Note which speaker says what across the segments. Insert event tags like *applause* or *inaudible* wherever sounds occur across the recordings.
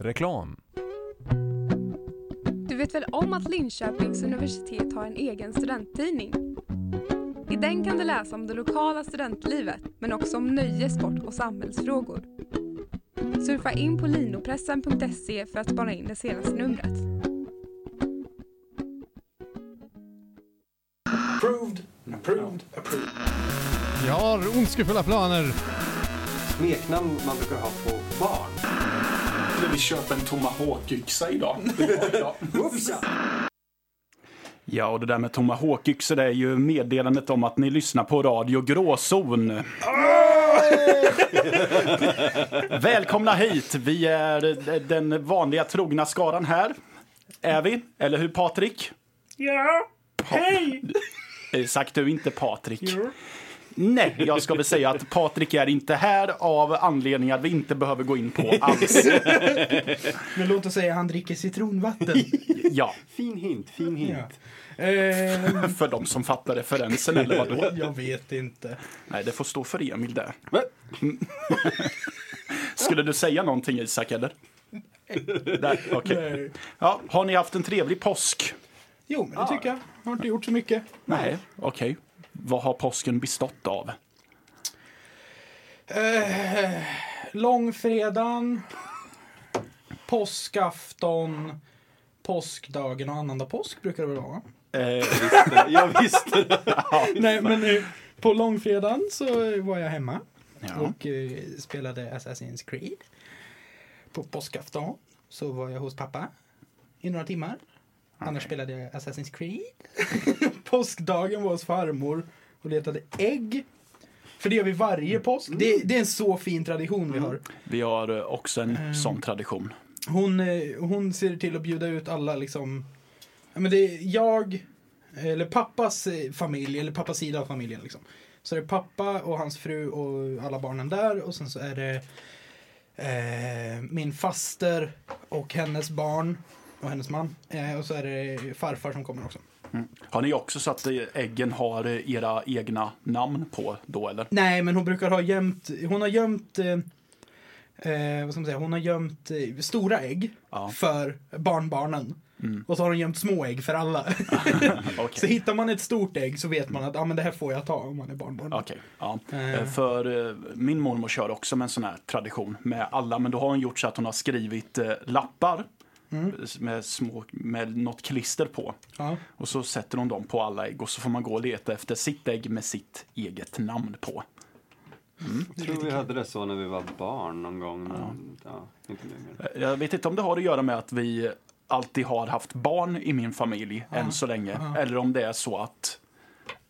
Speaker 1: Reklam.
Speaker 2: Du vet väl om att Linköpings universitet har en egen studenttidning? I den kan du läsa om det lokala studentlivet, men också om nöje, sport och samhällsfrågor. Surfa in på linopressen.se för att spana in det senaste numret.
Speaker 3: Approved, approved, approved.
Speaker 4: Jag har ondskefulla planer.
Speaker 5: smeknamn man brukar ha på barn.
Speaker 3: Eller vi köper en tomahawk-yxa idag. Ja.
Speaker 5: Upsa!
Speaker 3: ja, och det där med tomahawk-yxor det är ju meddelandet om att ni lyssnar på Radio Gråzon. Välkomna hit! Vi är den vanliga trogna skaran här. Är vi? Eller hur Patrik?
Speaker 6: Ja, hej!
Speaker 3: Eh, Sagt du inte Patrik? Nej, jag ska väl säga att Patrik är inte här av anledningar vi inte behöver gå in på alls.
Speaker 6: Men låt oss säga han dricker citronvatten.
Speaker 3: Ja,
Speaker 5: Fin hint, fin
Speaker 6: ja.
Speaker 5: hint.
Speaker 6: Ehm,
Speaker 3: för de som fattar referensen eller vadå?
Speaker 6: jag vet inte.
Speaker 3: Nej, det får stå för Emil där.
Speaker 5: Va?
Speaker 3: *laughs* Skulle du säga någonting Isak eller? Nej, okej.
Speaker 6: Nej.
Speaker 3: Ja, har ni haft en trevlig påsk?
Speaker 6: Jo, men det tycker jag. Har inte gjort så mycket.
Speaker 3: Nej, okej. Vad har påsken bestått av?
Speaker 6: Långfredagen, påskafton, påskdagen och annandag påsk brukar det väl vara? va?
Speaker 3: Eh,
Speaker 5: Jag visste det.
Speaker 6: *laughs* Nej, men eh, på långfredagen så eh, var jag hemma
Speaker 3: ja.
Speaker 6: och eh, spelade Assassin's Creed. På påskafton så var jag hos pappa i några timmar. Annars spelade jag Assassin's Creed. *laughs* Påskdagen var hos farmor och letade ägg. För det gör vi varje påsk. Det, det är en så fin tradition vi har.
Speaker 3: *laughs* Vi har eh, också en sån tradition.
Speaker 6: Hon, eh, hon ser till att bjuda ut alla liksom. Ja, men det är jag, eller pappas eh, familj, eller pappas sida av familjen liksom. Så det är pappa och hans fru och alla barnen där och sen så är det eh, min faster och hennes barn och hennes man. Eh, och så är det farfar som kommer också.
Speaker 3: Har ni också så att eh, äggen har eh, era egna namn på då *laughs* eller?
Speaker 6: Nej, men hon brukar ha gömt, hon har gömt, eh, eh, vad ska man säga, hon har gömt eh, stora ägg
Speaker 3: Ja.
Speaker 6: för barnbarnen. Och så har hon gömt små ägg för alla. Så
Speaker 3: Okej.
Speaker 6: hittar man ett stort ägg så vet man att ah, men det här får jag ta om man är barnbarn.
Speaker 3: Okej, ja.
Speaker 6: Eh.
Speaker 3: Eh, För eh, min mormor kör också med en sån här tradition med alla, men då har hon gjort så att hon har skrivit eh, lappar eh, med, små, med något klister på.
Speaker 6: Ja.
Speaker 3: Och så sätter hon dem på alla ägg och så får man gå och leta efter sitt ägg med sitt eget namn på.
Speaker 5: Jag tror vi hade det så när vi var barn någon gång. Men, ja, inte längre.
Speaker 3: Eh, Jag vet inte om det har att göra med att vi alltid har haft barn i min familj än så länge. Eller om det är så att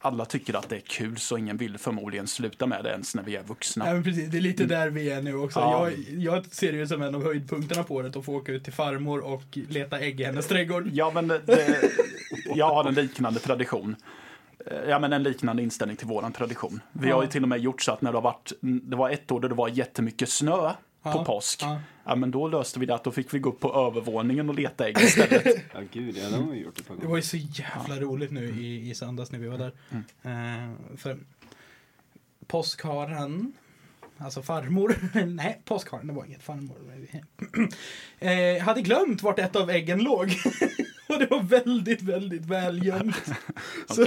Speaker 3: alla tycker att det är kul så ingen vill förmodligen sluta med det ens när vi är vuxna.
Speaker 6: Nej, men precis, det är lite där vi är nu också.
Speaker 3: Ja.
Speaker 6: Jag, jag ser det ju som en av höjdpunkterna på året att få åka ut till farmor och leta ägg i hennes trädgård.
Speaker 3: Ja, men det- det, jag har en liknande tradition. Eh, Ja, men en liknande inställning till våran tradition. Vi har ju till och med gjort så att när det har varit, det var ett år då det var jättemycket snö på
Speaker 6: Ja,
Speaker 3: påsk. Ja.
Speaker 6: ja.
Speaker 3: men då löste vi det att då fick vi gå upp på övervåningen och leta ägg istället.
Speaker 5: Ja, gud, ja, det har vi gjort ett par
Speaker 6: Det var
Speaker 5: gånger.
Speaker 6: ju så jävla roligt nu i, i söndags när vi var där. Eh, för påskharen, alltså farmor, *laughs* nej påskharen, det var inget farmor. *clears throat* eh, hade glömt vart ett av äggen låg. *laughs* Och det var väldigt, väldigt välgömt. Så,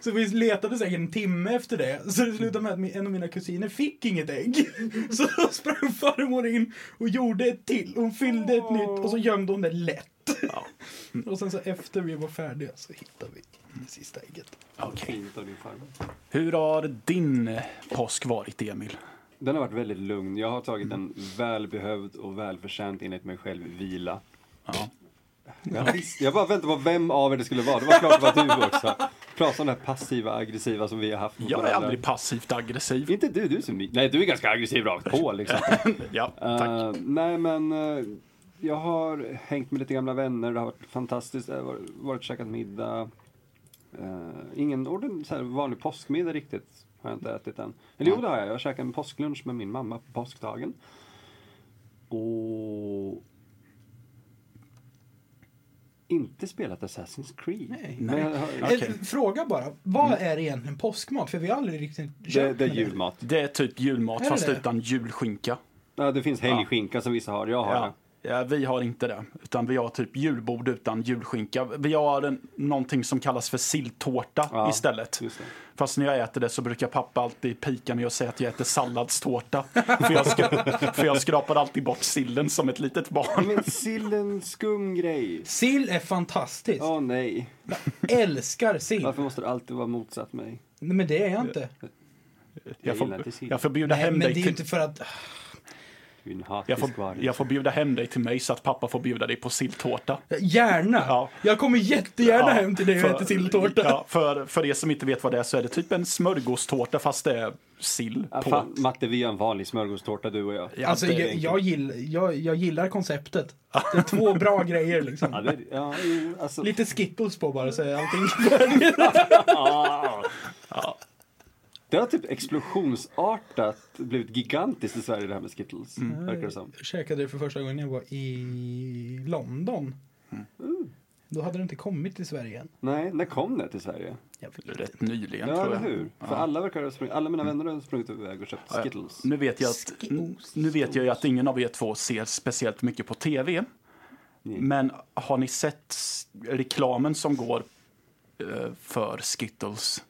Speaker 6: så vi letade säkert en timme efter det. Så det slutade med att min- en av mina kusiner fick inget ägg. *laughs* Så då sprang farmor in och gjorde ett till. Hon fyllde ett nytt och så gömde hon det lätt.
Speaker 3: Ja.
Speaker 6: Och sen så efter vi var färdiga så hittade vi det sista ägget.
Speaker 3: *laughs* Okej.
Speaker 5: Fint av din farmor.
Speaker 3: Hur har din eh, påsk varit, Emil?
Speaker 5: Den har varit väldigt lugn. Jag har tagit en välbehövd och välförtjänt enligt mig själv vila.
Speaker 3: Ja.
Speaker 5: Jag, visste, jag bara väntade på vem av er det skulle vara. Det var klart det var du också. Prata om det här passiva aggressiva som vi har haft mot
Speaker 3: Jag är
Speaker 5: varandra.
Speaker 3: aldrig passivt aggressiv.
Speaker 5: Inte du, du är så ny. Nej, du är ganska aggressiv rakt på liksom.
Speaker 3: Ja, tack.
Speaker 5: Eh, nej, men eh, jag har hängt med lite gamla vänner. Det har varit fantastiskt. Jag har varit- varit och käkat middag. Eh, ingen orden, så här, vanlig påskmiddag riktigt har jag inte ätit än. Eller jo, det har jag. Jag käkade en påsklunch med min mamma på påskdagen. Och... Inte spelat Assassin's Creed.
Speaker 6: Nej.
Speaker 5: Men jag har-
Speaker 3: Okej. Mm.
Speaker 6: Eh, Fråga bara, vad är egentligen påskmat? För vi har aldrig riktigt
Speaker 5: Det,
Speaker 6: köpt
Speaker 5: det är
Speaker 6: med det.
Speaker 5: julmat.
Speaker 3: Det är typ julmat,
Speaker 6: Är det
Speaker 3: fast
Speaker 6: det?
Speaker 3: utan julskinka.
Speaker 5: Ja, det finns helgskinka som vissa har. Jag har
Speaker 3: Ja.
Speaker 5: det.
Speaker 3: Ja, vi har inte det, utan vi har typ julbord utan julskinka. Vi har en, någonting som kallas för silltårta
Speaker 5: Ja.
Speaker 3: istället.
Speaker 5: Just det.
Speaker 3: Fast när jag äter det så brukar pappa alltid pika mig och säga att jag äter
Speaker 5: *laughs*
Speaker 3: salladstårta. för, jag ska, för jag skrapar alltid bort sillen som ett litet barn.
Speaker 5: Men sillen, skum grej.
Speaker 6: Sill är fantastiskt.
Speaker 5: Åh nej.
Speaker 6: Älskar sill.
Speaker 5: Varför måste det alltid vara motsatt mig?
Speaker 6: Nej, men det är jag inte.
Speaker 5: Jag
Speaker 3: Jag får,
Speaker 5: gillar inte sill.
Speaker 3: jag får bjuda
Speaker 6: Nej,
Speaker 3: hem
Speaker 6: men det är
Speaker 3: dig
Speaker 6: ju inte
Speaker 3: till...
Speaker 6: för att...
Speaker 5: Min hatisk
Speaker 3: Jag får,
Speaker 5: varg.
Speaker 3: jag får bjuda hem dig till mig så att pappa får bjuda dig på silltårta.
Speaker 6: Gärna!
Speaker 3: Ja.
Speaker 6: Jag kommer jättegärna
Speaker 3: Ja,
Speaker 6: hem till dig och
Speaker 3: för-
Speaker 6: äter silltårta.
Speaker 3: Ja, för, för er som inte vet vad det är så är det typ en smörgåstårta fast det är sill
Speaker 5: Ja,
Speaker 3: på.
Speaker 5: fan, Matte, vi gör en vanlig smörgåstårta du och jag.
Speaker 3: Ja,
Speaker 6: Alltså,
Speaker 3: det är
Speaker 6: jag,
Speaker 3: enkelt.
Speaker 6: jag, gillar, jag, jag gillar
Speaker 3: *laughs*
Speaker 6: konceptet. Det är två bra grejer
Speaker 5: Ja,
Speaker 6: liksom.
Speaker 5: det, ja, jo, alltså,
Speaker 6: Lite skittles på bara så är allting...
Speaker 3: *laughs*
Speaker 5: det har typ explosionsartat blivit gigantiskt i Sverige det här med Skittles.
Speaker 3: Mm.
Speaker 5: Verkar det som.
Speaker 6: Jag käkade det för första gången när jag var i London.
Speaker 3: Mm.
Speaker 6: Mm. Då hade det inte kommit till Sverige än.
Speaker 5: Nej, när kom det till Sverige?
Speaker 6: Jag vet inte.
Speaker 3: Rätt nyligen
Speaker 5: Ja,
Speaker 3: tror
Speaker 5: eller
Speaker 3: jag. Mm.
Speaker 5: hur? För alla, verkar ha sprungit, alla mina vänner har sprungit iväg och köpt Skittles.
Speaker 3: Nu vet, jag att, nu vet jag ju att ingen av er två ser speciellt mycket på tv. Men har ni sett s- reklamen som går eh, för Skittles?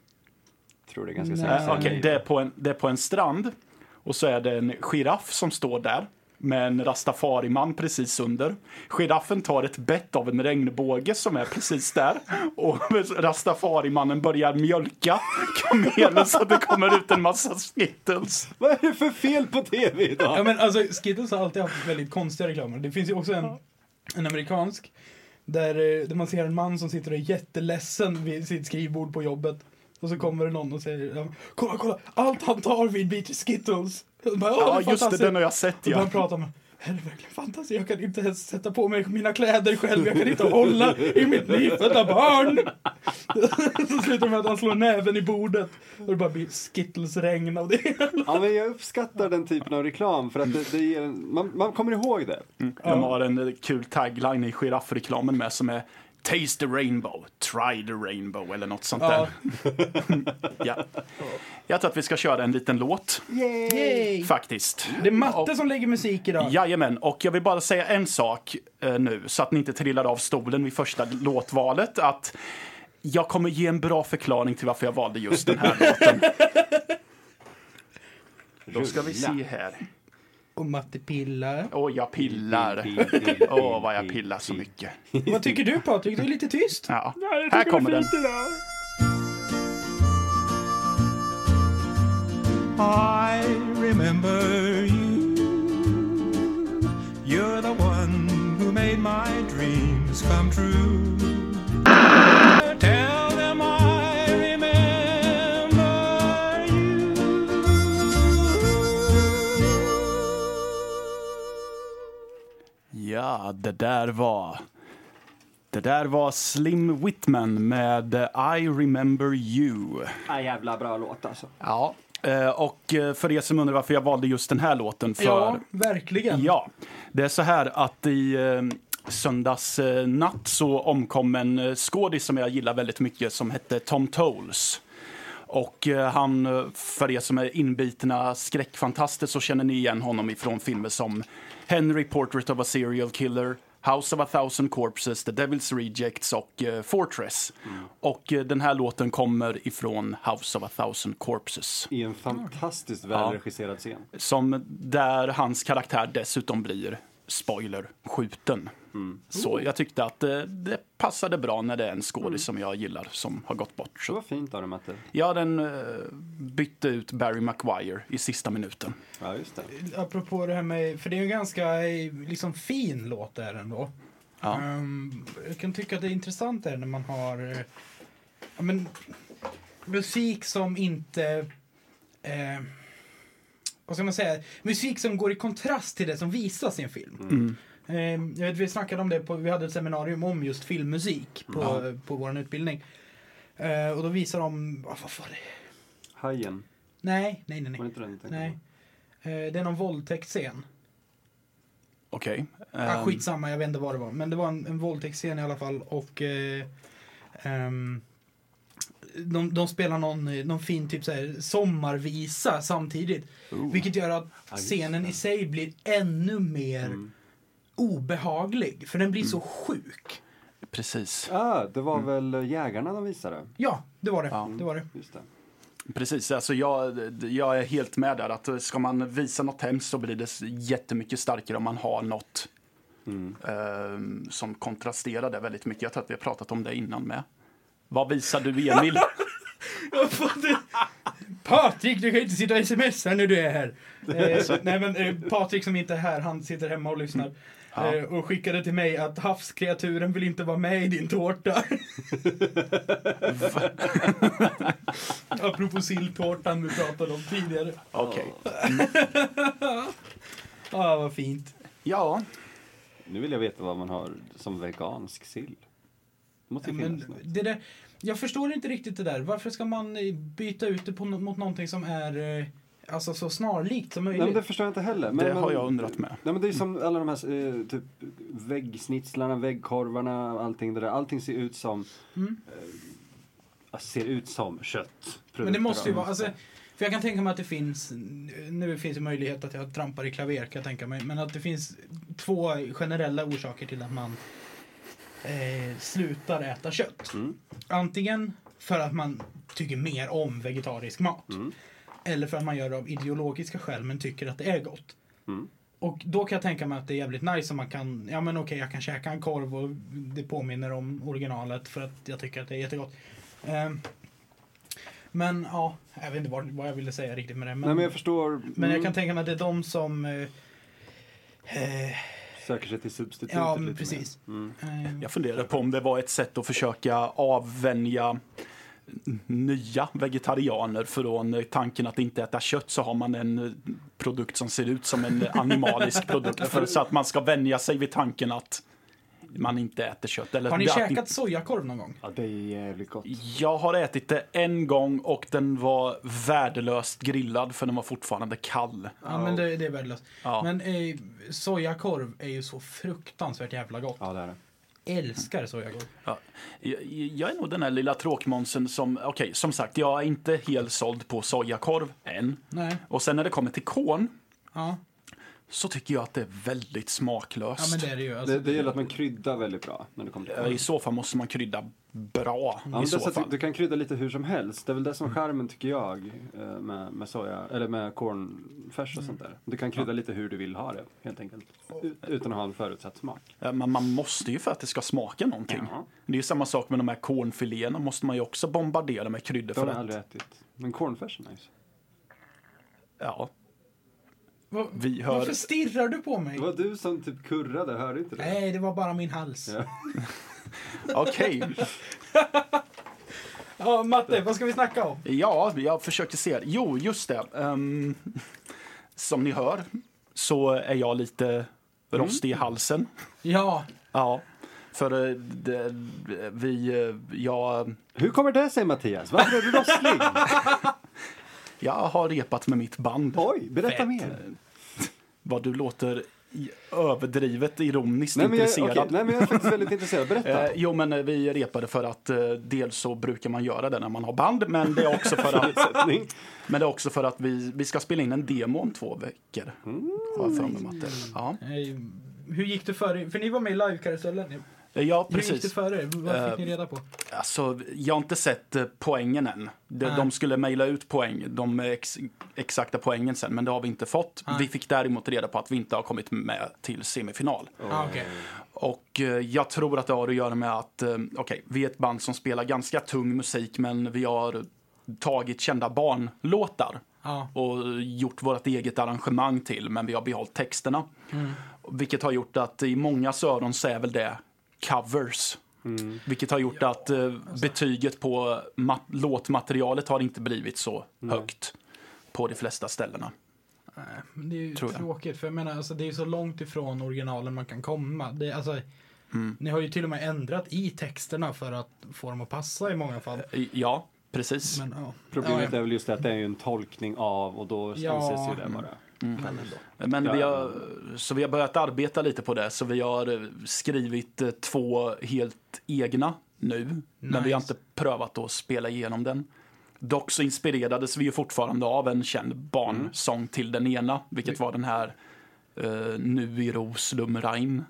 Speaker 5: Tror det är ganska
Speaker 6: Nej.
Speaker 5: säkert.
Speaker 3: Äh, okej, det, är på en, det är på en strand och så är det en giraff som står där med en rastafariman precis under. Giraffen tar ett bett av en regnbåge som är precis där och *laughs* rastafarimannen börjar mjölka kamelen så att det kommer ut en massa Skittles.
Speaker 5: Vad är det för fel på tv
Speaker 6: Ja,
Speaker 3: Mm.
Speaker 5: idag?
Speaker 6: men alltså, Skittles har alltid haft väldigt konstiga reklamer. Det finns ju också en, en amerikansk där, eh, där man ser en man som sitter och är jätteledsen vid sitt skrivbord på jobbet. Och så kommer det någon och säger ja, Kolla, kolla! Allt han tar vid biter Skittles! Och Bara,
Speaker 3: Ja, just det, den har jag sett
Speaker 6: Och
Speaker 3: ja.
Speaker 6: börjar prata om är det verkligen fantastiskt? Jag kan inte ens sätta på mig mina kläder själv. Jag kan inte hålla i mitt nyfödda barn. *laughs* Så slutar det med att han slår näven i bordet. Och det bara blir Skittles-regn av det.
Speaker 5: Ja, men jag uppskattar den typen av reklam för att det, det ger, en- man, man kommer ihåg det.
Speaker 3: De har en eh, kul tagline i giraffreklamen med som är Taste the rainbow, try the rainbow eller något sånt
Speaker 6: Ja.
Speaker 3: där. Ja. Jag tror att vi ska köra en liten låt
Speaker 6: Yay.
Speaker 3: faktiskt.
Speaker 6: Det är matte som lägger musik idag.
Speaker 3: Jajamän, och jag vill bara säga en sak eh, nu så att ni inte trillar av stolen vid första låtvalet. Att jag kommer ge en bra förklaring till varför jag valde just
Speaker 6: *laughs*
Speaker 3: den här låten. Då ska vi se här.
Speaker 6: Och matte pillar.
Speaker 3: Åh, jag pillar. *laughs* Åh, vad jag pillar så mycket.
Speaker 6: Vad tycker du Patrik? Du är lite tyst.
Speaker 3: Ja, här kommer den.
Speaker 1: I remember you. You're the one who made my dreams come true. Tell them I remember you.
Speaker 3: Ja, det där var... Det där var Slim Whitman med eh, I remember you.
Speaker 5: Ja, Ah, jävla bra låt alltså.
Speaker 3: Ja. eh, Och eh, för er som undrar varför jag valde just den här låten för...
Speaker 6: Ja, verkligen.
Speaker 3: Ja, det är så här att i eh, söndags eh, natt så omkom en eh, skådis som jag gillar väldigt mycket som hette Tom Tolles. Och eh, han, eh, för er som är inbitna skräckfantaster så känner ni igen honom ifrån filmer som Henry, Portrait of a Serial Killer, House of a Thousand Corpses, The Devil's Rejects och eh, Fortress. Och eh, den här låten kommer ifrån House of a Thousand Corpses.
Speaker 5: I en fantastiskt välregisserad scen.
Speaker 3: Som där hans karaktär dessutom blir, spoiler, skjuten. Så jag tyckte att eh, det passade bra när det är en skådis som jag gillar som har gått bort.
Speaker 5: Det
Speaker 3: Så.
Speaker 5: var fint av dig Matte.
Speaker 3: Ja, den eh, bytte ut Barry McGuire i sista minuten.
Speaker 5: Ja, just det.
Speaker 6: Apropå det här med, för det är ju en ganska eh, liksom, fin låt där ändå.
Speaker 3: Ja.
Speaker 6: Ehm, jag kan tycka att det är intressant där när man har eh, ja, men, musik som inte... Eh, vad ska man säga? Musik som går i kontrast till det som visas i en film. Ehm, jag vet, vi snackade om det, på, vi hade ett seminarium om just filmmusik på, på vår utbildning. Eh, och då visar de... Vad vad var det?
Speaker 5: Hajen.
Speaker 6: Nej, nej, nej.
Speaker 5: Var det
Speaker 6: nej.
Speaker 5: inte den du tänkte
Speaker 6: nej. Eh, det är någon våldtäktsscen.
Speaker 3: Okej.
Speaker 6: Ja,
Speaker 3: Ehm,
Speaker 6: skitsamma, jag vet inte vad det var. Men det var en, en våldtäktsscen i alla fall. Och eh, ehm, de, de spelar någon, eh, någon fin typ så här, sommarvisa samtidigt. Vilket gör att
Speaker 5: just
Speaker 3: Mm.
Speaker 6: scenen i sig blir ännu mer obehaglig, för den blir så sjuk.
Speaker 3: Precis.
Speaker 5: Ah, det
Speaker 3: Mm.
Speaker 5: var väl jägarna de visade?
Speaker 6: Ja, det var det.
Speaker 3: Ja.
Speaker 6: det, var det.
Speaker 5: Just det.
Speaker 3: Precis, alltså jag, jag är helt med där. Att ska man visa något hemskt så blir det jättemycket starkare om man har något eh, som kontrasterar det väldigt mycket. Jag tror att vi har pratat om det innan med. Vad visar du, Emil?
Speaker 6: *laughs* Patrik, du kan inte sitta och smsa när du är här. Eh, nej men eh, Patrik som inte är här, han sitter hemma och lyssnar.
Speaker 3: Ja.
Speaker 6: Eh, och skickade till mig att havskreaturen vill inte vara med i din tårta. Apropå silltårtan vi pratade om tidigare.
Speaker 3: Okej.
Speaker 6: Ja, ah, vad fint.
Speaker 3: Ja,
Speaker 5: Nu vill jag veta vad man har som vegansk sill. Det måste ju
Speaker 6: Men
Speaker 5: finnas något.
Speaker 6: det där, jag förstår inte riktigt det där. Varför ska man eh, byta ut det på, no- mot någonting som är eh, alltså, så snarlikt som
Speaker 5: Nej, men
Speaker 6: möjligt?
Speaker 5: det förstår jag inte heller. Men,
Speaker 3: det
Speaker 5: men,
Speaker 3: har jag undrat med.
Speaker 5: Nej, men det är som alla de här eh, typ, väggsnitslarna, väggkorvarna, allting det där. Allting ser ut som...
Speaker 6: Mm.
Speaker 5: Eh, ser ut som kött.
Speaker 6: Men det måste ju vara, alltså, för jag kan tänka mig att det finns, nu finns det möjlighet att jag trampar i klaver kan jag tänka mig, men att det finns två generella orsaker till att man eh, slutar äta kött.
Speaker 5: Mm.
Speaker 6: Antingen för att man tycker mer om vegetarisk mat,
Speaker 5: Mm.
Speaker 6: eller för att man gör det av ideologiska skäl men tycker att det är gott.
Speaker 5: Mm.
Speaker 6: Och då kan jag tänka mig att det är jävligt nice om man kan, ja men okej jag kan käka en korv och det påminner om originalet för att jag tycker att det är jättegott. Ehm, men ja, jag vet inte vad, vad jag ville säga riktigt med det. Men,
Speaker 5: Nej, men jag förstår.
Speaker 6: men jag
Speaker 5: mm,
Speaker 6: kan tänka mig att det är de som... Eh, eh,
Speaker 5: Söker sig till substitutet
Speaker 6: ja, men
Speaker 5: lite mer.
Speaker 6: precis.
Speaker 5: Mm.
Speaker 6: eh,
Speaker 3: Jag funderar på om det var ett sätt att försöka avvänja nya vegetarianer från tanken att inte äta kött så har man en produkt som ser ut som en
Speaker 6: *laughs*
Speaker 3: animalisk produkt för, så att man ska vänja sig vid tanken att man inte äter kött. Eller
Speaker 6: har ni
Speaker 3: att
Speaker 6: käkat sojakorv någon gång?
Speaker 5: Ja, det är jävligt gott.
Speaker 3: Jag har ätit det en gång och den var värdelöst grillad för den var fortfarande kall.
Speaker 6: Ja, men det, det är värdelöst.
Speaker 3: Ja.
Speaker 6: Men eh, sojakorv är ju så fruktansvärt jävla gott.
Speaker 5: Ja, det är det.
Speaker 6: Älskar sojakorv.
Speaker 3: Ja. Jag, jag är nog den här lilla tråkmånsen som, okej, som sagt, jag är inte helt såld på sojakorv än.
Speaker 6: Nej,
Speaker 3: Och sen när det kommer till korn
Speaker 6: ja.
Speaker 3: så tycker jag att det är väldigt
Speaker 6: ja,
Speaker 3: smaklöst.
Speaker 6: men det är det ju. Alltså,
Speaker 5: Det, det gäller att man kryddar väldigt bra när det kommer till
Speaker 3: Eh, I så fall måste man krydda bra.
Speaker 5: Ja, men
Speaker 3: I
Speaker 5: det är så
Speaker 3: så
Speaker 5: att du,
Speaker 3: fall.
Speaker 5: du kan krydda lite hur som helst. Det är väl det som är charmen tycker jag eh, med, med soja, eller med kornfärs och sånt där. Du kan krydda lite hur du vill ha det helt enkelt. U- utan att ha en förutsatt smak.
Speaker 3: Eh, Men man måste ju för att det ska smaka någonting.
Speaker 5: Ja.
Speaker 3: Det är ju samma sak med de här kornfiléerna, måste man ju också bombardera med kryddor
Speaker 5: Det
Speaker 3: för
Speaker 5: har jag
Speaker 3: att...
Speaker 5: aldrig ätit. Men kornfärs är nice.
Speaker 3: Ja,
Speaker 6: vad-
Speaker 3: vi hör-
Speaker 6: Varför stirrar du på mig?
Speaker 5: Det var du som typ kurrade, hörde inte det?
Speaker 6: Nej, det var bara min hals.
Speaker 5: Ja.
Speaker 3: okej.
Speaker 6: Ja, Matte, vad ska vi snacka om?
Speaker 3: Ja, jag försökte se. Jo, just det. Ehm, som ni hör så är jag
Speaker 5: Mm.
Speaker 3: lite rostig i halsen.
Speaker 6: Ja,
Speaker 3: Ja, för eh, det, vi... eh, Jag,
Speaker 5: Hur kommer det sig Mattias? Varför är du rosslig?
Speaker 3: jag har repat med mitt band.
Speaker 5: Oj, berätta mer.
Speaker 3: Vad du låter i- överdrivet ironiskt
Speaker 5: Nej men, jag,
Speaker 3: intresserad.
Speaker 5: okej, nej men jag är faktiskt väldigt
Speaker 3: *laughs*
Speaker 5: intresserad,
Speaker 3: Eh,
Speaker 5: berätta.
Speaker 3: jo, men eh, vi repade för att eh, dels så brukar man göra det när man har band, men det är också för
Speaker 5: *laughs*
Speaker 3: att,
Speaker 5: Sättning.
Speaker 3: men det är också för att vi, vi ska spela in en demo om två veckor.
Speaker 5: Mm.
Speaker 3: Har jag för mig, Matte. Ja.
Speaker 6: Eh, Hur gick det för er? För ni var med i livekarusellen.
Speaker 3: ja,
Speaker 6: Hur gick det
Speaker 3: precis.
Speaker 6: för er? Vad fick
Speaker 3: Eh,
Speaker 6: ni reda på?
Speaker 3: Alltså, jag har inte sett eh, poängen än. De,
Speaker 6: Nej.
Speaker 3: de skulle mejla ut poäng, de ex, exakta poängen sen, men det har vi inte fått.
Speaker 6: Nej.
Speaker 3: Vi fick däremot reda på att vi inte har kommit med till semifinal.
Speaker 6: Ah, okej.
Speaker 3: Och eh, jag tror att det har att göra med att, eh, okej, vi är ett band som spelar ganska tung musik men vi har tagit kända barnlåtar
Speaker 6: Ja.
Speaker 3: och gjort vårt eget arrangemang till, men vi har behållit texterna. Vilket har gjort att i många öron så är väl det covers. Vilket har gjort att eh, betyget på ma- låtmaterialet har inte blivit så högt på de flesta ställena.
Speaker 6: Nej, eh, men Det är ju
Speaker 3: Tror jag.
Speaker 6: tråkigt, för jag menar, alltså, det är ju så långt ifrån originalen man kan komma. Det, är, alltså,
Speaker 3: Mm.
Speaker 6: Ni har ju till och med ändrat i texterna för att få dem att passa i många fall.
Speaker 3: I- Ja, precis.
Speaker 6: Men, ja.
Speaker 5: Problemet
Speaker 6: ja,
Speaker 5: är väl just det att det är ju en tolkning av och då
Speaker 6: Ja.
Speaker 5: anses ju det vara.
Speaker 6: Mm.
Speaker 3: Men
Speaker 5: Ja,
Speaker 3: vi
Speaker 5: ja.
Speaker 3: har, så vi har börjat arbeta lite på det, så vi har eh, skrivit eh, två helt egna nu. Men vi har
Speaker 6: Nice.
Speaker 3: inte prövat att spela igenom den. Dock så
Speaker 5: Mm.
Speaker 3: inspirerades vi ju fortfarande av en känd barnsång till den ena, vilket var den här eh, Nu i Roslum Rhein.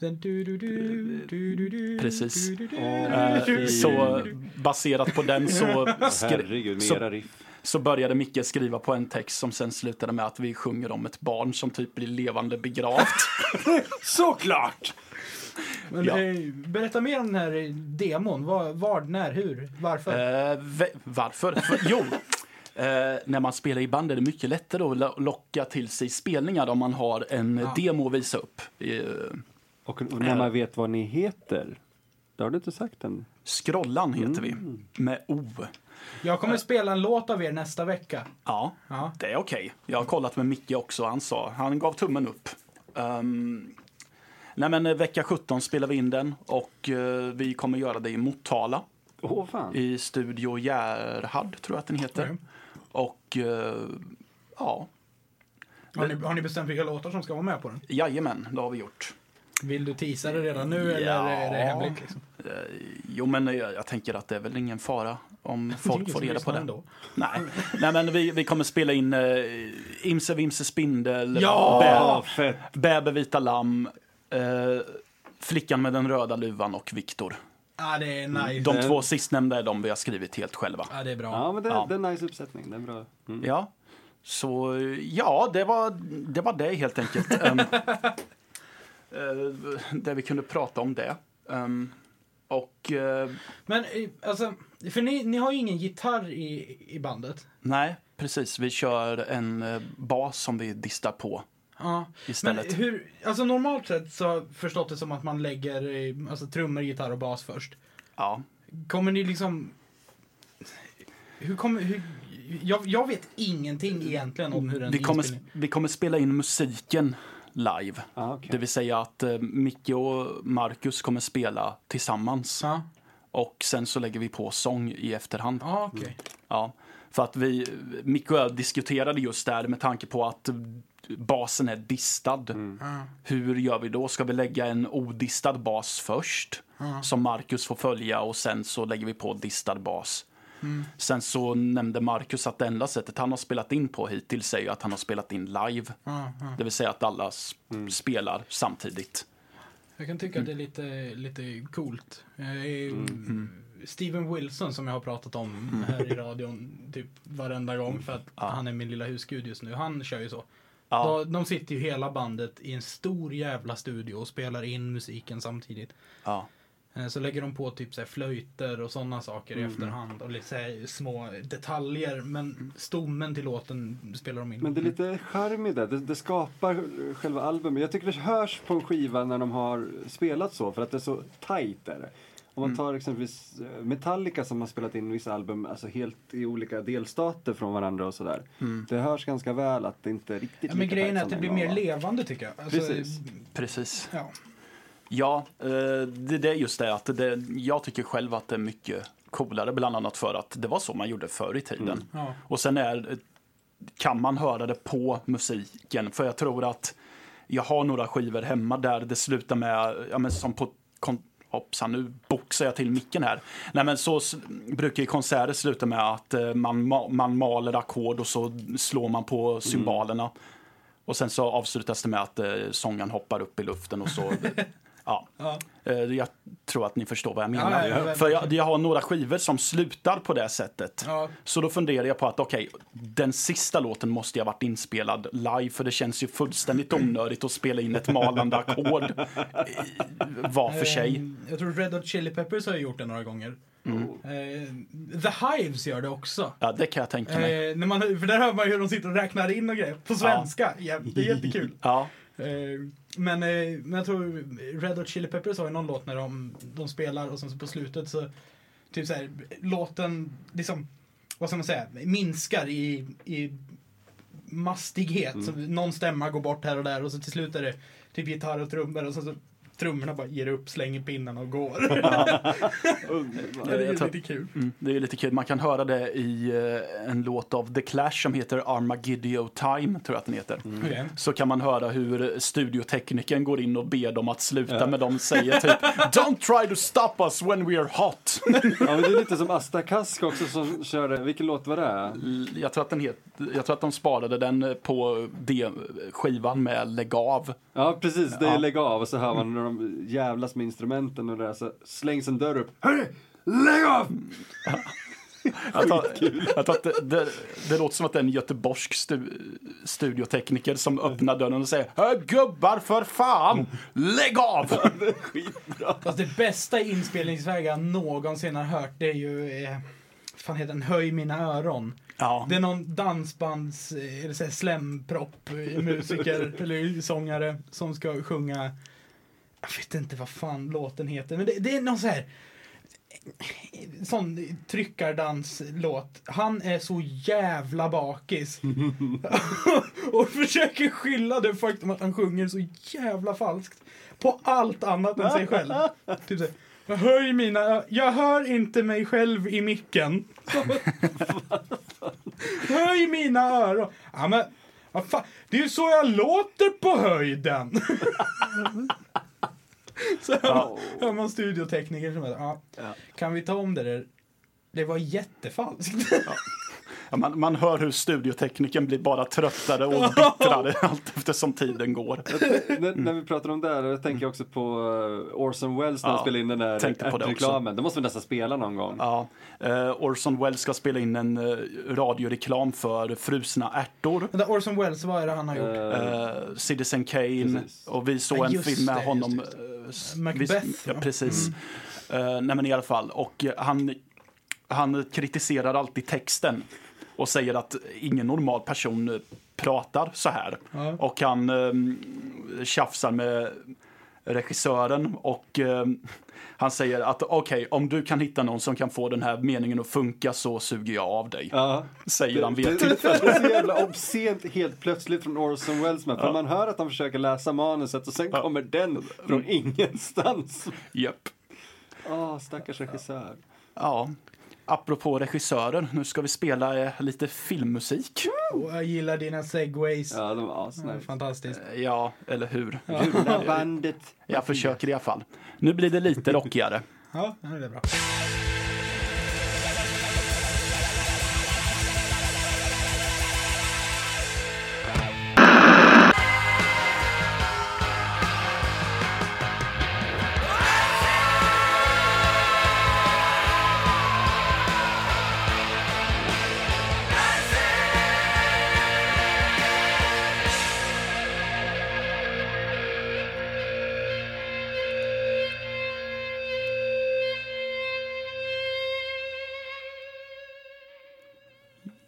Speaker 6: Sen du- du- du- du- du- du-
Speaker 3: Precis.
Speaker 6: du- du- du-
Speaker 5: Åh,
Speaker 3: Eh,
Speaker 5: fy.
Speaker 3: Så baserat på den så, skri-
Speaker 5: Mm. Herregud, med
Speaker 3: så
Speaker 5: era riff.
Speaker 3: så började Micke skriva på en text som sen slutade med att vi sjunger om ett barn som typ blir levande begravt.
Speaker 5: Såklart!
Speaker 6: Men,
Speaker 3: Ja.
Speaker 6: eh, Berätta mer om den här demon. Var, var när, hur, varför?
Speaker 3: Eh, ve- varför? För, jo, eh, när man spelar i band är det mycket lättare att lo- locka till sig spelningar om man har en
Speaker 6: Ja.
Speaker 3: demo att visa upp. Eh,
Speaker 5: Och när man vet vad ni heter. Det har du inte sagt än.
Speaker 3: Skrollan heter
Speaker 6: Mm.
Speaker 3: vi, med O.
Speaker 6: Jag kommer spela en låt av er nästa vecka.
Speaker 3: Ja,
Speaker 6: Ja.
Speaker 3: det är okej. Jag har kollat med Micke också. Han sa, han gav tummen upp. Ehm, nej men eh, vecka 17 spelar vi in den och eh, vi kommer göra det i Motala.
Speaker 5: Åh oh, fan.
Speaker 3: i Studio Gerhard, tror jag att den heter.
Speaker 6: Okej.
Speaker 3: Och eh, ja,
Speaker 6: Har ni, har ni bestämt vilka låtar som ska vara med på den?
Speaker 3: jajamän, det har vi gjort.
Speaker 6: Vill du teasa det redan nu eller
Speaker 3: Ja.
Speaker 6: är det hemligt? Liksom?
Speaker 3: Jo, men jag, jag tänker att det är väl ingen fara om folk får reda på det.
Speaker 6: Ändå.
Speaker 3: Nej. Nej, men vi, vi kommer spela in eh, Imse Vimse Spindel,
Speaker 6: Ja!
Speaker 5: Ja,
Speaker 3: Bä,
Speaker 5: fett.
Speaker 3: Bäbe Vita Lamm, eh, Flickan med den röda luvan och Viktor.
Speaker 6: Ja, det är nice.
Speaker 3: De två sistnämnda är de vi har skrivit helt själva.
Speaker 6: Ja, det är bra.
Speaker 5: Ja, men det,
Speaker 3: Ja.
Speaker 5: det är en nice uppsättning. Det är bra. Mm.
Speaker 3: Ja, så ja, det var det, var det helt enkelt. Ehm, eh, det vi kunde prata om det. Ehm, och eh,
Speaker 6: Men eh, alltså, för ni, ni har ju ingen gitarr i, i bandet.
Speaker 3: nej, precis, vi kör en eh, bas som vi distar på
Speaker 6: Ja. Men
Speaker 3: istället.
Speaker 6: hur, alltså normalt sett så har jag förstått det som att man lägger eh, alltså, trummor, gitarr och bas först.
Speaker 3: ja.
Speaker 6: Kommer ni liksom... Hur kommer... Hur, jag, jag vet ingenting egentligen om hur en
Speaker 3: vi, kommer,
Speaker 6: inspelning...
Speaker 3: vi kommer spela in musiken live.
Speaker 5: Ah, okay.
Speaker 3: Det vill säga att eh, Micke och Marcus kommer spela tillsammans
Speaker 6: Ja,
Speaker 3: och sen så lägger vi på sång i efterhand.
Speaker 6: ja okej.
Speaker 3: Ja, för att vi, Micke och jag diskuterade just där med tanke på att basen är distad.
Speaker 6: Ja.
Speaker 3: Hur gör vi då? Ska vi lägga en odistad bas först som Marcus får följa och sen så lägger vi på distad bas. Sen så nämnde Marcus att det enda sättet han har spelat in på hittills är ju att han har spelat in live.
Speaker 6: Ja, ja.
Speaker 3: Det vill säga att alla s- spelar samtidigt.
Speaker 6: Jag kan tycka att det är lite, lite coolt. Jag är,
Speaker 3: Mm.
Speaker 6: Steven Wilson som jag har pratat om här i radion typ varenda gång för att han är min lilla husgud just nu. Han kör ju så.
Speaker 3: Ja.
Speaker 6: De, de sitter ju hela bandet i en stor jävla studio och spelar in musiken samtidigt.
Speaker 3: Ja.
Speaker 6: Eh, Så lägger de på typ så här flöjter och sådana saker
Speaker 5: Mm.
Speaker 6: i efterhand och lite så här små detaljer. Men stommen till låten spelar de in.
Speaker 5: Mm. Men det är lite charm i det. det. Det skapar själva albumet. Jag tycker det hörs på en skiva när de har spelat så, för att det är så tajt. Är det. Om man tar exempelvis eh, Metallica som har spelat in vissa album alltså helt i olika delstater från varandra och sådär. Det hörs ganska väl att det inte är riktigt
Speaker 6: ja, men
Speaker 5: lika
Speaker 6: grejen
Speaker 5: tajt
Speaker 6: är
Speaker 5: som
Speaker 6: att det
Speaker 5: en
Speaker 6: blir
Speaker 5: gång
Speaker 6: mer
Speaker 5: var.
Speaker 6: levande tycker jag. Alltså,
Speaker 5: Precis.
Speaker 3: Precis.
Speaker 6: Ja.
Speaker 3: Ja, eh, det, det är just det att det, jag tycker själv att det är mycket coolare, bland annat för att det var så man gjorde förr i tiden.
Speaker 6: Ja.
Speaker 3: Och sen är, kan man höra det på musiken, för jag tror att jag har några skivor hemma där det slutar med, ja men som på kon- Hoppsan, nu boxar jag till micken här. Nej, men så s- brukar ju konserter sluta med att eh, man, ma- man maler ackord och så slår man på cymbalerna. Och sen så avslutas det med att eh, sången hoppar upp i luften och
Speaker 6: *laughs*
Speaker 3: så... ja.
Speaker 6: Ja.
Speaker 3: Eh, jag tror att ni förstår vad jag menar.
Speaker 6: Ja, ja, ja.
Speaker 3: För jag, jag har några skivor som slutar på det sättet.
Speaker 6: Ja.
Speaker 3: Så då funderar jag på att okej, den sista låten måste jag ha varit inspelad live för det känns ju fullständigt onödigt att spela in ett malande ackord i- var för sig.
Speaker 6: Ehm, Jag tror Red Hot Chili Peppers har ju gjort det några gånger.
Speaker 5: Mm.
Speaker 6: Ehm, The Hives gör det också.
Speaker 3: Ja, det kan jag tänka mig.
Speaker 6: Ehm, när man, för där hör man ju hur de sitter och räknar in och grejer på svenska. Ja. det är jättekul.
Speaker 3: Ja,
Speaker 6: Ehm, men, eh, men jag tror Red Hot Chili Peppers har ju någon låt när de, de spelar och sen så på slutet så typ så här, låten liksom, vad ska man säga, minskar i, i
Speaker 3: Mm.
Speaker 6: mastighet. Så någon stämma går bort här och där och så till slut är det typ gitarr och trummor och sen så trummorna bara ger upp, slänger pinnarna och
Speaker 3: *laughs*
Speaker 6: går. *laughs* det är
Speaker 3: Jag
Speaker 6: ju
Speaker 3: tror-
Speaker 6: lite kul.
Speaker 3: Mm, det är ju lite kul. Man kan höra det i eh, en låt av The Clash som heter Armageddon Time, tror jag att den heter.
Speaker 6: Okej.
Speaker 3: Så kan man höra hur studioteknikern går in och ber dem att sluta, men de säger typ Don't try to stop us when we are hot.
Speaker 5: Ja, men det är lite som Asta Kask också som körde, vilken låt var det?
Speaker 3: Jag tror att, den het, jag tror att de sparade den på D- skivan med Lägg av.
Speaker 5: Ja precis, det är lägg av och så hör man när de jävlas med instrumenten och det där så slängs en dörr upp. Hörru! Lägg av!
Speaker 3: Jag tror, jag tror att det, det, det låter som att det är en göteborgsk stu, studiotekniker som öppnar dörren och säger Hör gubbar för fan, lägg av!
Speaker 6: Fast det bästa inspelningsväg jag någonsin har hört det är ju, eh, vad fan heter den, Höj mina öron.
Speaker 3: Ja.
Speaker 6: Det är någon dansbands, eh, eller så här slempropp, eh, musiker eller sångare som ska sjunga, jag vet inte vad fan låten heter, men det, det är någon så här eh, sån tryckardanslåt. Han är så jävla bakis. och försöker skylla det faktum att han sjunger så jävla falskt på allt annat än sig själv. Typ så här, jag hör mina, ö- jag hör inte mig själv i micken. Höj mina öron. Ja, men, vad fan, det är ju så jag låter på höjden. *laughs* så hör man, hör man studiotekniker som bara, ja, kan vi ta om det där? Det var jättefalskt. *laughs*
Speaker 3: Ja, man, man hör hur studiotekniken blir bara tröttare och bittrare allt eftersom tiden går.
Speaker 5: när,
Speaker 3: Mm.
Speaker 5: när vi pratar om det här, då tänker jag också på eh, Orson Welles när han
Speaker 3: Ja,
Speaker 5: spelade in den där
Speaker 3: tänkte på det också.
Speaker 5: reklamen. Det måste vi nästan spela någon gång.
Speaker 3: Ja, eh, Orson Welles ska spela in en eh, radioreklam för frusna ärtor.
Speaker 6: Vänta, Orson Welles, vad är det han har gjort?
Speaker 5: Eh,
Speaker 3: Eh, Citizen Kane
Speaker 5: Precis.
Speaker 3: och vi såg
Speaker 6: Ja,
Speaker 3: en
Speaker 6: just
Speaker 3: film
Speaker 6: det,
Speaker 3: med
Speaker 6: just
Speaker 3: honom.
Speaker 6: det,
Speaker 3: eh, s-
Speaker 6: Macbeth, Mm.
Speaker 3: vi- ja,
Speaker 6: va?
Speaker 3: precis. Eh, nej men i alla fall, och eh, han, han kritiserar alltid texten och säger att ingen normal person eh, pratar så här.
Speaker 6: Ja.
Speaker 3: Och han um, tjafsar med regissören och eh, han säger att okej, om du kan hitta någon som kan få den här meningen att funka så suger jag av dig.
Speaker 5: ja.
Speaker 3: Säger han vid
Speaker 5: det,
Speaker 3: ett
Speaker 5: det,
Speaker 3: tillfälle.
Speaker 5: det är så jävla obscent helt plötsligt från Orson Welles med. För man hör att han försöker läsa manuset och sen kommer den
Speaker 3: Mm.
Speaker 5: från *laughs* ingenstans.
Speaker 3: Japp.
Speaker 5: Ah, stackars regissör.
Speaker 3: Ja. Apropå regissörer, nu ska vi spela eh, lite filmmusik.
Speaker 6: Och jag gillar dina segways.
Speaker 5: Ja, de var
Speaker 6: Det är
Speaker 5: asnice.
Speaker 6: Fantastiskt.
Speaker 3: Ja, eller hur?
Speaker 5: *laughs* Gula bandet.
Speaker 3: Jag försöker i alla fall. Nu blir det lite rockigare.
Speaker 6: Ja, det är bra.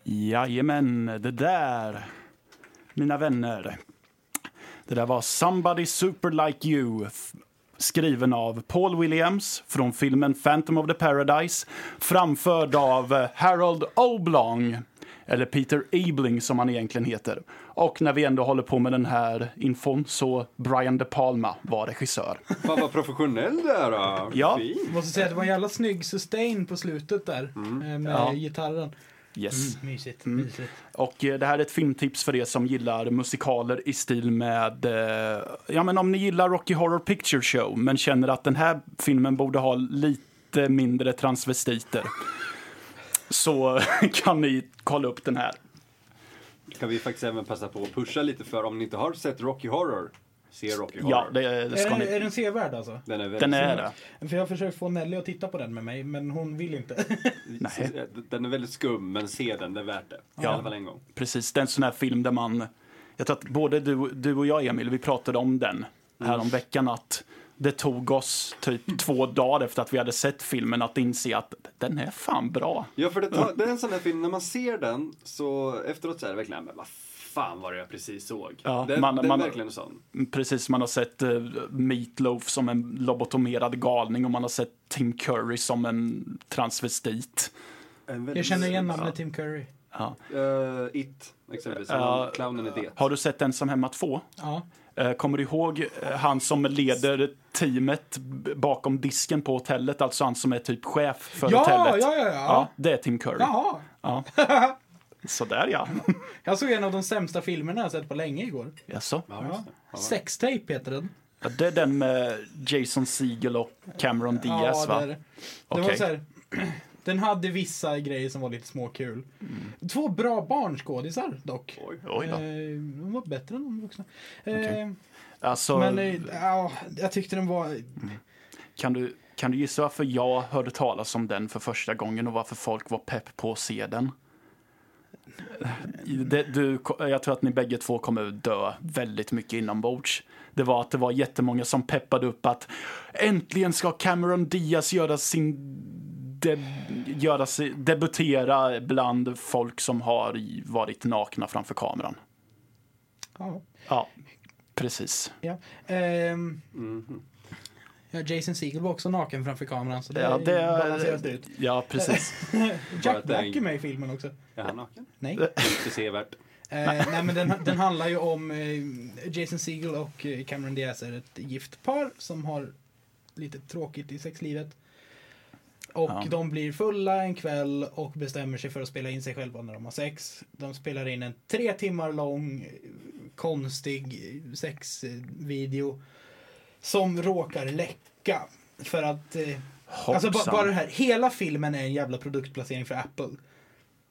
Speaker 3: Jajamän, det där, mina vänner. Det där var Somebody Super Like You f- skriven av Paul Williams från filmen Phantom of the Paradise framförd av eh, Harold Oblong, eller Peter Ebling som han egentligen heter. Och när vi ändå håller på med den här infon så Brian De Palma var regissör.
Speaker 5: Fan vad professionell du är då.
Speaker 3: Ja.
Speaker 5: Fint.
Speaker 6: Måste säga att det var en jävla snygg sustain på slutet där. eh, Med
Speaker 3: Ja.
Speaker 6: gitarren. Mm.
Speaker 3: Yes.
Speaker 6: Mysigt, mysigt.
Speaker 3: Och eh, det här är ett filmtips för er som gillar musikaler i stil med... Eh, ja, men om ni gillar Rocky Horror Picture Show men känner att den här filmen borde ha lite mindre transvestiter så *laughs* kan ni kolla upp den här.
Speaker 5: Kan vi faktiskt även passa på att pusha lite för om ni inte har sett Rocky Horror, se Rocky Horror.
Speaker 3: Ja, det, det ska
Speaker 6: Är, den- är
Speaker 3: ni...
Speaker 6: den sevärd alltså?
Speaker 5: Den är väldigt
Speaker 3: Den är
Speaker 5: snygg.
Speaker 3: det.
Speaker 6: För jag har försökt få Nelly att titta på den med mig, men hon vill inte.
Speaker 3: Nej.
Speaker 5: eh, Den är väldigt skum, men se den, det är värt det. I alla fall en gång.
Speaker 3: Precis, det är en sån här film där man... Jag tror att både du, du och jag, Emil, vi pratade om den häromveckan att det tog oss typ två dagar efter att vi hade sett filmen att inse att den är fan bra.
Speaker 5: Ja, för det, tar, det är en sån där film, när man ser den så efteråt så är det verkligen, men vad fan var det jag precis såg?
Speaker 3: Ja,
Speaker 5: den,
Speaker 3: man-
Speaker 5: den
Speaker 3: man-
Speaker 5: är verkligen sån.
Speaker 3: Precis som man har sett eh, Meatloaf som en lobotomerad galning och man har sett Tim Curry som en transvestit.
Speaker 5: En väldigt-
Speaker 6: Jag känner igen namnet Tim Curry.
Speaker 3: Ja.
Speaker 5: Eh, it, exempelvis.
Speaker 3: Ja.
Speaker 5: Clownen är det.
Speaker 3: Har du sett Ensam hemma 2?
Speaker 6: Ja.
Speaker 3: Eh, Kommer du ihåg eh, han som leder teamet b- bakom disken på hotellet? Alltså han som är typ chef för
Speaker 6: Ja,
Speaker 3: hotellet.
Speaker 6: ja, ja, ja.
Speaker 3: Det är Tim Curry.
Speaker 6: Jaha.
Speaker 3: Ja. Sådär ja.
Speaker 6: Jag såg en av de sämsta filmerna jag sett på länge igår.
Speaker 3: *laughs* Jaså?
Speaker 5: Ja, just det. Ja, va?
Speaker 6: Sextape heter den.
Speaker 3: Ja, Det är den med Jason Segel och Cameron Diaz
Speaker 6: det
Speaker 3: va?
Speaker 6: är det. Det var
Speaker 3: Okej.
Speaker 6: så här, *clears throat* den hade vissa grejer som var lite småkul. Två bra barnskådisar dock.
Speaker 5: Oj.
Speaker 3: Oj
Speaker 6: Eh,
Speaker 3: då.
Speaker 6: de var bättre än de vuxna. Eh,
Speaker 3: Alltså,
Speaker 6: Men eh, ja, jag tyckte den var...
Speaker 3: kan, du, kan du gissa varför jag hörde talas om den för första gången och varför folk var pepp på att se den? Det, du, jag tror att ni bägge två kommer dö väldigt mycket inombords. Det var att det var jättemånga som peppade upp att äntligen ska Cameron Diaz göra sin de, göra sig, debutera bland folk som har varit nakna framför kameran.
Speaker 6: Ja,
Speaker 3: Ja, precis.
Speaker 6: ja. Ehm,
Speaker 5: Mhm.
Speaker 6: ja, Jason Segel var också naken framför kameran så det,
Speaker 3: Ja,
Speaker 6: balanseras
Speaker 3: det,
Speaker 6: ut.
Speaker 3: ja precis.
Speaker 6: Jack
Speaker 5: att det är
Speaker 6: Black
Speaker 5: en-
Speaker 6: är med i filmen också.
Speaker 5: Är han naken?
Speaker 6: Nej.
Speaker 5: Inte sevärt.
Speaker 6: Eh, nej men den, den handlar ju om eh, Jason Segel och eh, Cameron Diaz är ett gift par som har lite tråkigt i sexlivet. Och
Speaker 3: Ja.
Speaker 6: de blir fulla en kväll och bestämmer sig för att spela in sig själva när de har sex. De spelar in en tre timmar lång eh, konstig sexvideo som råkar läcka. För att eh, *laughs* Alltså ba-
Speaker 3: Hoppsan.
Speaker 6: bara det här, hela filmen är en jävla produktplacering för Apple.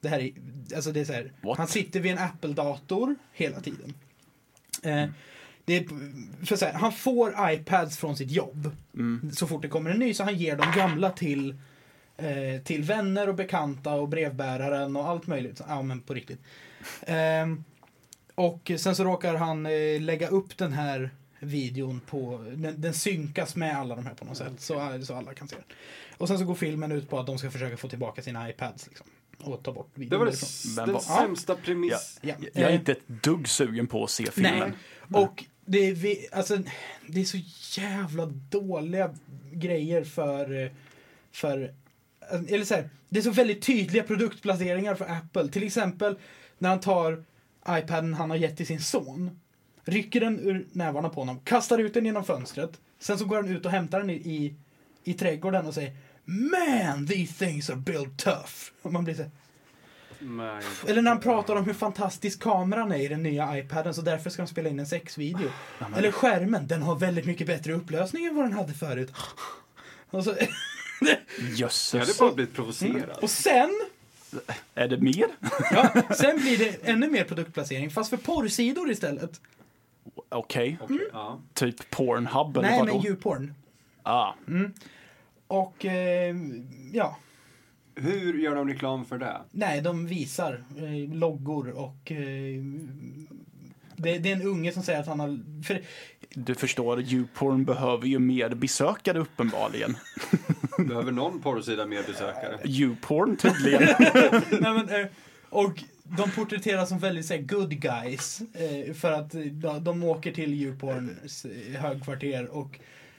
Speaker 6: Det här är, alltså det är så här,
Speaker 3: What?
Speaker 6: han sitter vid en Apple-dator hela tiden. Eh,
Speaker 3: Mm.
Speaker 6: det är, för så här, han får iPads från sitt jobb
Speaker 3: Mm.
Speaker 6: så fort det kommer en ny så han ger de gamla till eh, till vänner och bekanta och brevbäraren och allt möjligt. Ja men på riktigt. Ehm, och sen så råkar han eh, lägga upp den här videon på, den, den synkas med alla de här på något sätt så, så alla kan se den. Och sen så går filmen ut på att de ska försöka få tillbaka sina iPads liksom. Och ta bort videon
Speaker 5: Det var det,
Speaker 6: därifrån.
Speaker 5: s-
Speaker 3: Men
Speaker 5: den
Speaker 3: vad-
Speaker 5: sämsta premiss.
Speaker 6: Ja.
Speaker 3: Jag- Jag är
Speaker 6: Eh,
Speaker 3: inte ett dugg sugen på att se filmen.
Speaker 6: Nej. Och det är, vi, alltså, det är så jävla dåliga grejer för... eh, för eller så här, det är så väldigt tydliga produktplaceringar för Apple. Till exempel när han tar iPaden han har gett till sin son. Rycker den ur nävarna på honom, kastar ut den genom fönstret. Sen så går han ut och hämtar den i, i, i trädgården och säger Man, these things are built tough. Och man blir så här,
Speaker 5: Nej.
Speaker 6: eller när han pratar om hur fantastisk kameran är i den nya iPaden så därför ska de spela in en sexvideo. Eller skärmen, den har väldigt mycket bättre upplösning än vad den hade förut. Och, så,
Speaker 5: Jag hade
Speaker 3: Jösses.
Speaker 5: bara blivit provocerad.
Speaker 3: Mm.
Speaker 6: och sen,
Speaker 3: Är det mer?
Speaker 6: ja, *laughs* sen blir det ännu mer produktplacering fast för porrsidor istället.
Speaker 3: Okej.
Speaker 5: Okej, ja.
Speaker 3: Typ Pornhub eller
Speaker 6: Nej
Speaker 3: vadå?
Speaker 6: men djurporn. Mm.
Speaker 3: Ah.
Speaker 6: Och eh, ja,
Speaker 5: Hur gör de reklam för det?
Speaker 6: nej de visar eh, loggor och eh, det, det är en unge som säger att han har... För,
Speaker 3: Du förstår, djurporn behöver ju mer besökare uppenbarligen.
Speaker 5: Behöver någon porrsida mer
Speaker 3: *laughs*
Speaker 5: besökare?
Speaker 6: *laughs*
Speaker 3: Djurporn tydligen.
Speaker 6: Nej, men, eh, och de porträtteras som väldigt så här, good guys. eh, För att eh, de, de åker till Djuporns eh, högkvarter och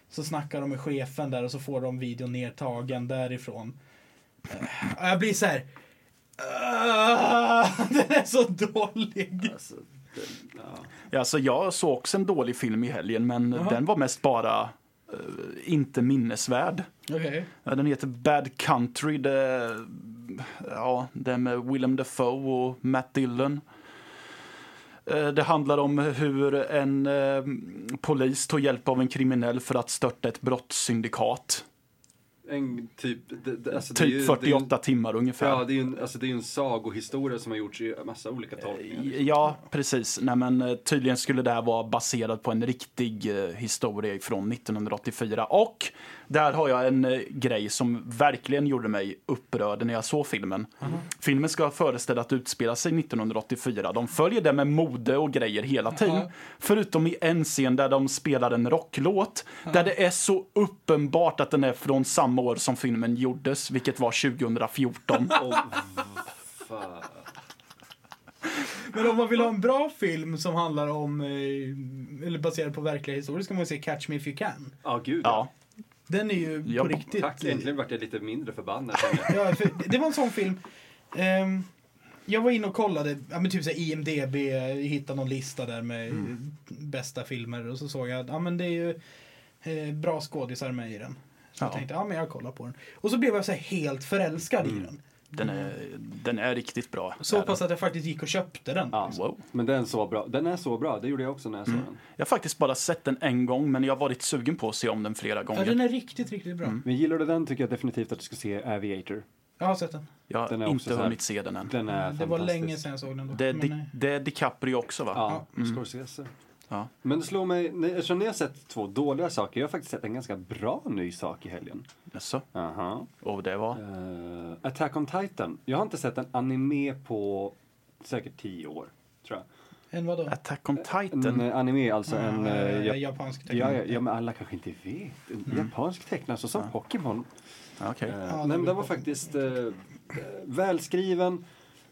Speaker 6: så snackar de med chefen där och så får de videon nedtagen därifrån. Eh, Jag blir så här. "Ah, *laughs* Den är så dålig.
Speaker 5: Alltså, den, ja.
Speaker 3: alltså, jag såg också en dålig film i helgen, men den var mest bara eh, inte minnesvärd.
Speaker 6: Okej.
Speaker 3: Ja, Den heter Bad Country. Det, ja, det är med Willem Dafoe och Matt Dillon. Eh, Det handlar om hur en eh, polis tog hjälp av en kriminell för att störta ett brottssyndikat.
Speaker 5: En typ... Det, det, alltså, det är ju-
Speaker 3: Typ 48 timmar
Speaker 5: Det är, ju- ja,
Speaker 3: ungefär.
Speaker 5: det är ju en, alltså, det är ju en sagohistoria som har gjorts i massa olika tolkningar. liksom.
Speaker 3: Ja, precis. Nej, men, eh, tydligen skulle det här vara baserat på en riktig eh, historia från 1984. Och där har jag en eh, grej som verkligen gjorde mig upprörd när jag såg filmen. Filmen ska föreställa att utspela sig 1984. De följer det med mode och grejer hela tiden. Förutom i en scen där de spelar en rocklåt. Där det är så uppenbart att den är från samma år som filmen gjordes, vilket var 2014.
Speaker 5: Fan.
Speaker 6: Men om man vill ha en bra film som handlar om, eh, eller baserad på verkliga historier, ska man ju se Catch Me If You Can.
Speaker 5: Ja, gud.
Speaker 3: Ja,
Speaker 6: Den är ju
Speaker 3: Ja,
Speaker 6: på riktigt...
Speaker 5: Tack, äntligen vart jag lite mindre förbannad. känner jag.
Speaker 6: Ja, för det- det var en sån film. Ehm, Jag var inne och kollade, ja, men typ så här IMDB, hittade någon lista där med bästa filmer och så såg jag att ja, men det är ju eh, bra skådisar med i den. Så jag
Speaker 3: Ja.
Speaker 6: tänkte, ja men jag kollar på den. Och så blev jag så här helt förälskad i den.
Speaker 3: Den är, den är riktigt bra.
Speaker 6: Så
Speaker 3: Är
Speaker 6: pass
Speaker 3: den.
Speaker 6: att jag faktiskt gick och köpte den.
Speaker 5: Ja.
Speaker 3: Wow.
Speaker 5: Men den, så bra. den är så bra, det gjorde jag också när jag såg den.
Speaker 3: Alltså, Jag har faktiskt bara sett den en gång, men jag har varit sugen på att se om den flera
Speaker 6: Ja,
Speaker 3: gånger.
Speaker 6: den är riktigt, riktigt bra.
Speaker 5: Men gillar du den tycker jag definitivt att du ska se Aviator.
Speaker 6: Jag har sett den.
Speaker 3: Jag har
Speaker 5: den är också
Speaker 3: inte
Speaker 5: så här-
Speaker 3: hunnit se den än.
Speaker 5: Den är
Speaker 6: Mm, det
Speaker 5: fantastisk.
Speaker 6: var länge sedan jag såg den. Då.
Speaker 3: Det, är
Speaker 6: men,
Speaker 3: Di-
Speaker 6: eh,
Speaker 3: det är DiCaprio också, va?
Speaker 5: Ja, Scorsese.
Speaker 3: Mm. Ja.
Speaker 5: Men det slår mig, nej, eftersom ni har sett två dåliga saker, jag har faktiskt sett en ganska bra ny sak i helgen.
Speaker 3: Jaså?
Speaker 5: Aha.
Speaker 3: Och det var?
Speaker 5: Eh, Attack on Titan. Jag har inte sett en anime på säkert tio år, tror jag.
Speaker 6: En vadå?
Speaker 3: Attack on Titan?
Speaker 5: En eh, anime, alltså en...
Speaker 6: Mm. Ja,
Speaker 5: eh,
Speaker 6: ja,
Speaker 5: jap-
Speaker 6: japansk teckning.
Speaker 5: ja, ja, ja, men alla kanske inte vet. En japansk tecknare, så som Pokémon.
Speaker 3: Ja, Ah, Okej.
Speaker 5: Eh,
Speaker 6: Mm. Ja,
Speaker 5: nej,
Speaker 6: det
Speaker 5: men
Speaker 6: blir
Speaker 5: den var
Speaker 6: bra.
Speaker 5: faktiskt eh, eh, välskriven.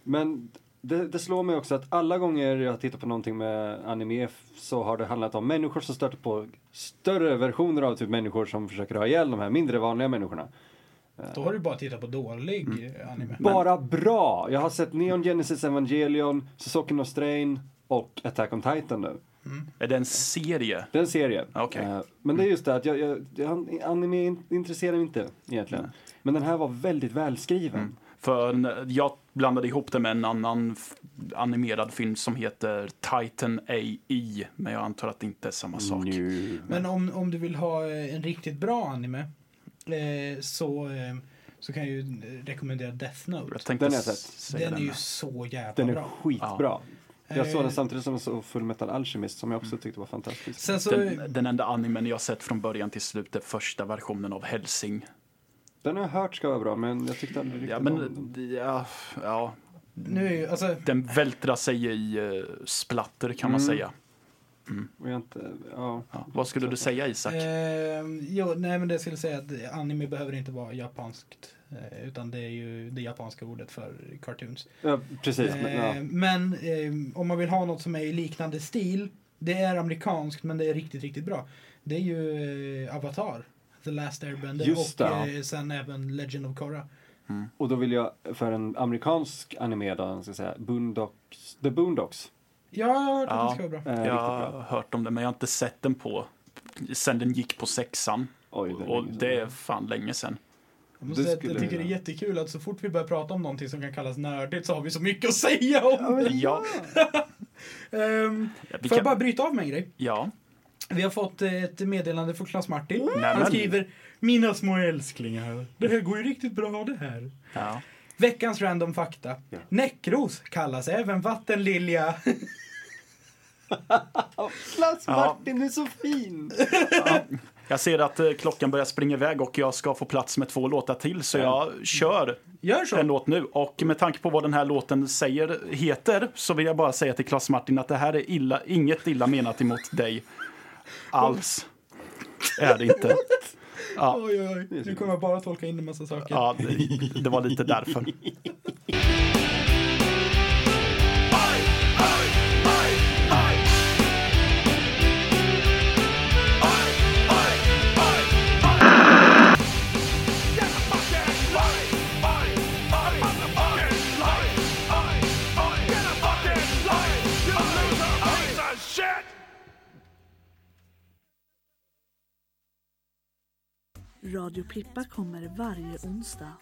Speaker 5: Men det, det slår mig också att alla gånger jag tittar på någonting med anime f- så har det handlat om människor som stöter på större versioner av typ människor som försöker ha ihjäl de här mindre vanliga människorna.
Speaker 6: Då har du bara tittat på dålig eh, anime.
Speaker 5: Bara bra! Jag har sett Neon Genesis Evangelion, Sosaki no Strain och Attack on Titan nu.
Speaker 3: Är det en serie?
Speaker 5: Det är en serie.
Speaker 3: Okej.
Speaker 5: Eh, Men det är just det att jag, jag, jag, anime in- intresserar mig inte egentligen. Men den här var väldigt välskriven.
Speaker 3: Mm. För n- jag blandade ihop det med en annan f- animerad film som heter Titan A.E. Men jag antar att det inte är samma sak.
Speaker 5: Nu.
Speaker 6: Men om, om du vill ha eh, en riktigt bra anime eh, så, eh, så kan jag ju eh, rekommendera Death Note.
Speaker 3: Jag tänkte
Speaker 5: Den har jag
Speaker 3: s-
Speaker 5: sett.
Speaker 3: säga
Speaker 6: Den är
Speaker 3: den.
Speaker 6: ju så jävla
Speaker 5: Den är
Speaker 6: bra.
Speaker 5: skitbra. Jag såg
Speaker 6: Eh.
Speaker 5: den samtidigt som jag såg Full Metal Alchemist som jag
Speaker 3: Mm.
Speaker 5: också tyckte var fantastisk.
Speaker 6: Sen så, eh,
Speaker 3: Den, den enda animen jag sett från början till slut är första versionen av Helsing.
Speaker 5: Den har jag hört ska vara bra men jag tyckte aldrig riktigt
Speaker 3: Ja,
Speaker 5: om den.
Speaker 3: men, ja, ja,
Speaker 6: nu är ju, alltså,
Speaker 3: den vältrar sig i eh, splatter kan man säga.
Speaker 5: Och jag inte, ja.
Speaker 3: Ja. Vad skulle du säga Isak?
Speaker 6: eh, jo, nej men det skulle jag säga att anime behöver inte vara japanskt. eh, Utan det är ju det japanska ordet för cartoons.
Speaker 5: ja precis. Men,
Speaker 6: Eh,
Speaker 5: ja.
Speaker 6: Men eh, om man vill ha något som är i liknande stil. Det är amerikanskt men det är riktigt, riktigt bra. Det är ju eh, Avatar. The Last Airbender
Speaker 5: Just
Speaker 6: och
Speaker 5: det.
Speaker 6: eh, sen även Legend of Korra.
Speaker 5: Och då vill jag för en amerikansk anime då, ska jag säga, Boondocks, The Boondocks.
Speaker 6: Ja, jag har hört att
Speaker 3: Ja.
Speaker 6: det ska vara bra.
Speaker 5: Eh,
Speaker 3: jag
Speaker 5: Riktigt
Speaker 3: har
Speaker 5: bra.
Speaker 3: hört om den men jag har inte sett den på sen den gick på sexan.
Speaker 5: Oj, det är
Speaker 3: och
Speaker 5: länge
Speaker 3: det är
Speaker 5: sedan.
Speaker 3: fan länge sen.
Speaker 6: Jag, måste
Speaker 5: det
Speaker 6: säga att
Speaker 5: skulle
Speaker 6: jag tycker det
Speaker 5: jag
Speaker 6: är
Speaker 5: vilja.
Speaker 6: jättekul att så fort vi börjar prata om någonting som kan kallas nördigt så har vi så mycket att säga om det.
Speaker 3: Ja,
Speaker 6: Ehm,
Speaker 3: Ja, vi
Speaker 6: får jag
Speaker 3: kan-
Speaker 6: bara bryta av med en grej?
Speaker 3: ja.
Speaker 6: Vi har fått eh, ett meddelande från Klas-Martin. Han
Speaker 3: Nämen.
Speaker 6: skriver Mina små älsklingar, det här går ju riktigt bra det här.
Speaker 3: ja.
Speaker 6: Veckans random fakta.
Speaker 5: Ja.
Speaker 6: Näckros kallas även vattenlilja.
Speaker 5: Klass
Speaker 3: Ja.
Speaker 5: Martin, du är så fin!
Speaker 3: Jag ser att eh, klockan börjar springa iväg och jag ska få plats med två låtar till så jag kör
Speaker 6: Gör så.
Speaker 3: en låt nu. Och med tanke på vad den här låten säger, heter så vill jag bara säga till Klas Martin att det här är illa, inget illa menat emot dig alls. Är det inte.
Speaker 6: Oj, oj, oj. Nu kommer jag bara tolka in en massa saker.
Speaker 3: Ja, det, det var lite därför.
Speaker 7: Shit!
Speaker 8: Radio Plippa kommer varje onsdag.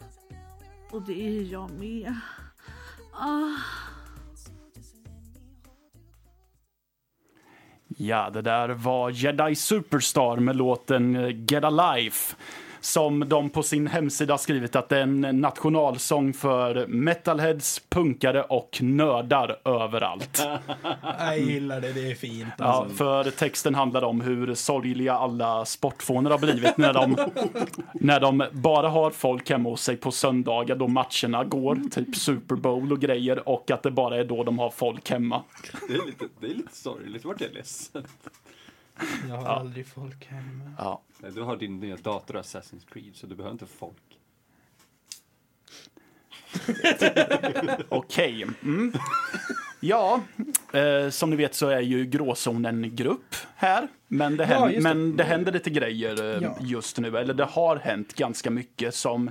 Speaker 8: Och det är jag med. Ah.
Speaker 3: Ja, det där var Jedi Superstar med låten eh, Get a Life som de på sin hemsida skrivit att det är en nationalsång för metalheads, punkare och nördar överallt.
Speaker 6: Jag gillar det, det är fint. alltså.
Speaker 3: Ja, för texten handlar om hur sorgliga alla sportfåner har blivit när de, när de bara har folk hemma hos sig på söndagar då matcherna går, typ Super Bowl och grejer, och att det bara är då de har folk hemma.
Speaker 5: Det är lite, det är lite sorgligt, vart jag är ledsen.
Speaker 6: Jag har aldrig folk hemma.
Speaker 3: Ja.
Speaker 5: Nej, Du har din nya dator Assassin's Creed så du behöver inte folk.
Speaker 3: Okej. Mm. Ja, eh, som ni vet så är ju Gråzon en grupp här. Men det,
Speaker 6: Ja,
Speaker 3: händer,
Speaker 6: just det.
Speaker 3: men det händer lite grejer eh,
Speaker 6: Ja.
Speaker 3: just nu. Eller det har hänt ganska mycket som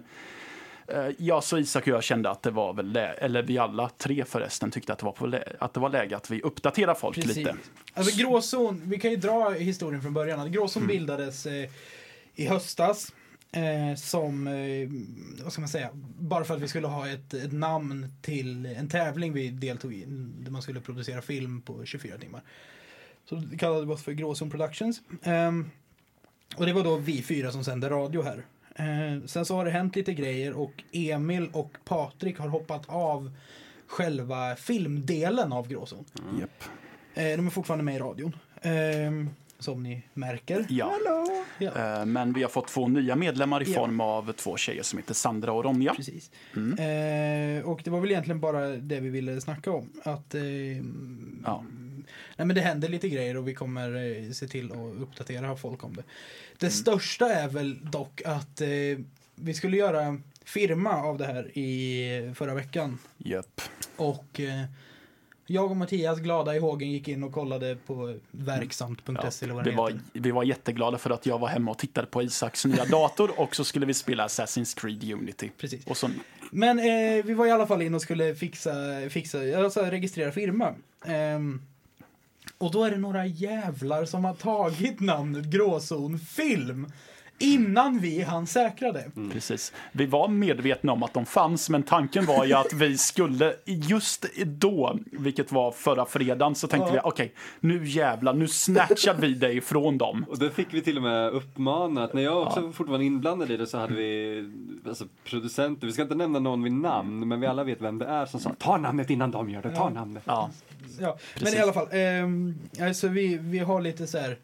Speaker 3: Eh, Ja, så Isak och jag kände att det var väl lä- eller vi alla tre förresten tyckte att det var, på lä- att det var läge att vi uppdaterar folk
Speaker 6: Precis.
Speaker 3: lite.
Speaker 6: Alltså gråzon, vi kan ju dra historien från början. Att gråzon bildades eh, i höstas. Eh, som, eh, vad ska man säga, bara för att vi skulle ha ett, ett namn till en tävling vi deltog i. Där man skulle producera film på 24 timmar. Så kallade vi oss för Gråzon Productions. Ehm, och det var då vi fyra som sände radio här. Eh, sen så har det hänt lite grejer och Emil och Patrik har hoppat av själva filmdelen av Gråzon.
Speaker 3: Japp.
Speaker 6: Eh, de är fortfarande med i radion. Ehm, som ni märker.
Speaker 3: Ja.
Speaker 6: Ja,
Speaker 3: Eh, Men vi har fått två nya medlemmar i
Speaker 6: Ja.
Speaker 3: form av två tjejer som heter Sandra och Ronja.
Speaker 6: precis.
Speaker 3: Mm.
Speaker 6: Eh, och det var väl egentligen bara det vi ville snacka om. Att ehm,
Speaker 3: Ja.
Speaker 6: Nej, men det händer lite grejer och vi kommer eh, se till att uppdatera folk om det. Det
Speaker 3: Mm.
Speaker 6: största är väl dock att eh, vi skulle göra firma av det här i förra veckan.
Speaker 3: Japp.
Speaker 6: Och eh, jag och Mattias glada i hågen gick in och kollade på verksamt.se
Speaker 3: Mm. Ja,
Speaker 6: E eller vad
Speaker 3: det
Speaker 6: det
Speaker 3: var,
Speaker 6: heter.
Speaker 3: vi var jätteglada för att jag var hemma och tittade på Isaks nya dator och så skulle vi spela Assassin's Creed Unity.
Speaker 6: Precis.
Speaker 3: Och så,
Speaker 6: Men eh, vi var i alla fall in och skulle fixa, fixa alltså registrera firma. Ehm, och då är det några jävlar som har tagit namnet Gråzon Film innan vi hann säkra det.
Speaker 3: Mm. precis. Vi var medvetna om att de fanns, men tanken var ju att vi skulle just då, vilket var förra fredagen, så tänkte
Speaker 6: Ja.
Speaker 3: vi okej, nu jävlar, nu snatchar vi dig ifrån dem.
Speaker 5: Och då fick vi till och med uppmanat, när jag också fortfarande inblandad i det så hade vi alltså, producenter, vi ska inte nämna någon vid namn, men vi alla vet vem det är som sa ta namnet innan de gör det, ta namnet.
Speaker 3: Ja,
Speaker 6: Ja, men
Speaker 3: Precis.
Speaker 6: i alla fall. ehm, alltså vi, vi har lite så här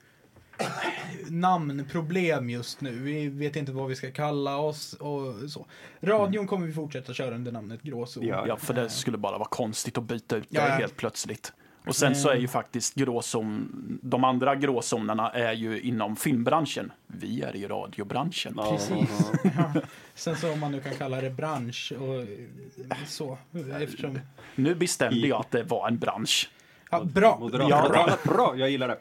Speaker 6: namnproblem just nu. Vi vet inte vad vi ska kalla oss och så. Radion kommer vi fortsätta köra under namnet Gråzon.
Speaker 5: Ja.
Speaker 3: ja, för det skulle bara vara konstigt att byta ut det
Speaker 6: Ja, Alltså, ja.
Speaker 3: helt plötsligt. Och sen så är ju faktiskt gråzon, de andra gråzonerna är ju inom filmbranschen. Vi är i radiobranschen.
Speaker 6: Precis. Ja. *laughs* Sen så om man nu kan kalla det bransch och eh, så. Eftersom...
Speaker 3: Nu bestämde jag att det var en bransch.
Speaker 6: Ja, bra!
Speaker 5: Moderater
Speaker 3: Ja.
Speaker 5: har talat bra, jag gillar det.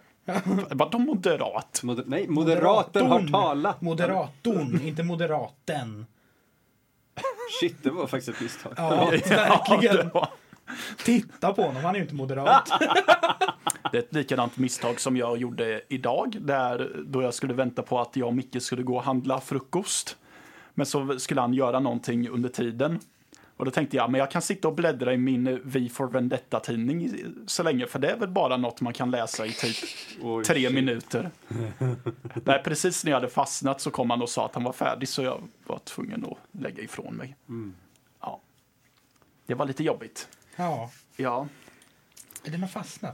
Speaker 3: Vadå
Speaker 5: *laughs*
Speaker 3: moderat?
Speaker 5: Moder- nej, moderater har
Speaker 6: Moderatorn.
Speaker 5: talat.
Speaker 6: Moderatorn, inte moderaten.
Speaker 5: Shit, det var faktiskt ett misstag. *laughs*
Speaker 6: Ja,
Speaker 3: *laughs* Ja, det
Speaker 6: verkligen.
Speaker 3: var-
Speaker 6: Titta på honom, han är ju inte moderat.
Speaker 3: Det är ett likadant misstag som jag gjorde idag, där, då jag skulle vänta på att jag och Micke skulle gå och handla frukost. Men så skulle han göra någonting under tiden. Och då tänkte jag, men jag kan sitta och bläddra i min Vi for Vendetta-tidning i- så länge, för det är väl bara något man kan läsa i typ
Speaker 5: Oj,
Speaker 3: tre
Speaker 5: shit. *laughs*
Speaker 3: minuter. Nej, precis när jag hade fastnat så kom han och sa att han var färdig, så jag var tvungen att lägga ifrån mig.
Speaker 5: Mm.
Speaker 3: Ja. Det var lite jobbigt.
Speaker 6: Ja,
Speaker 3: Ja.
Speaker 6: den har fastnat.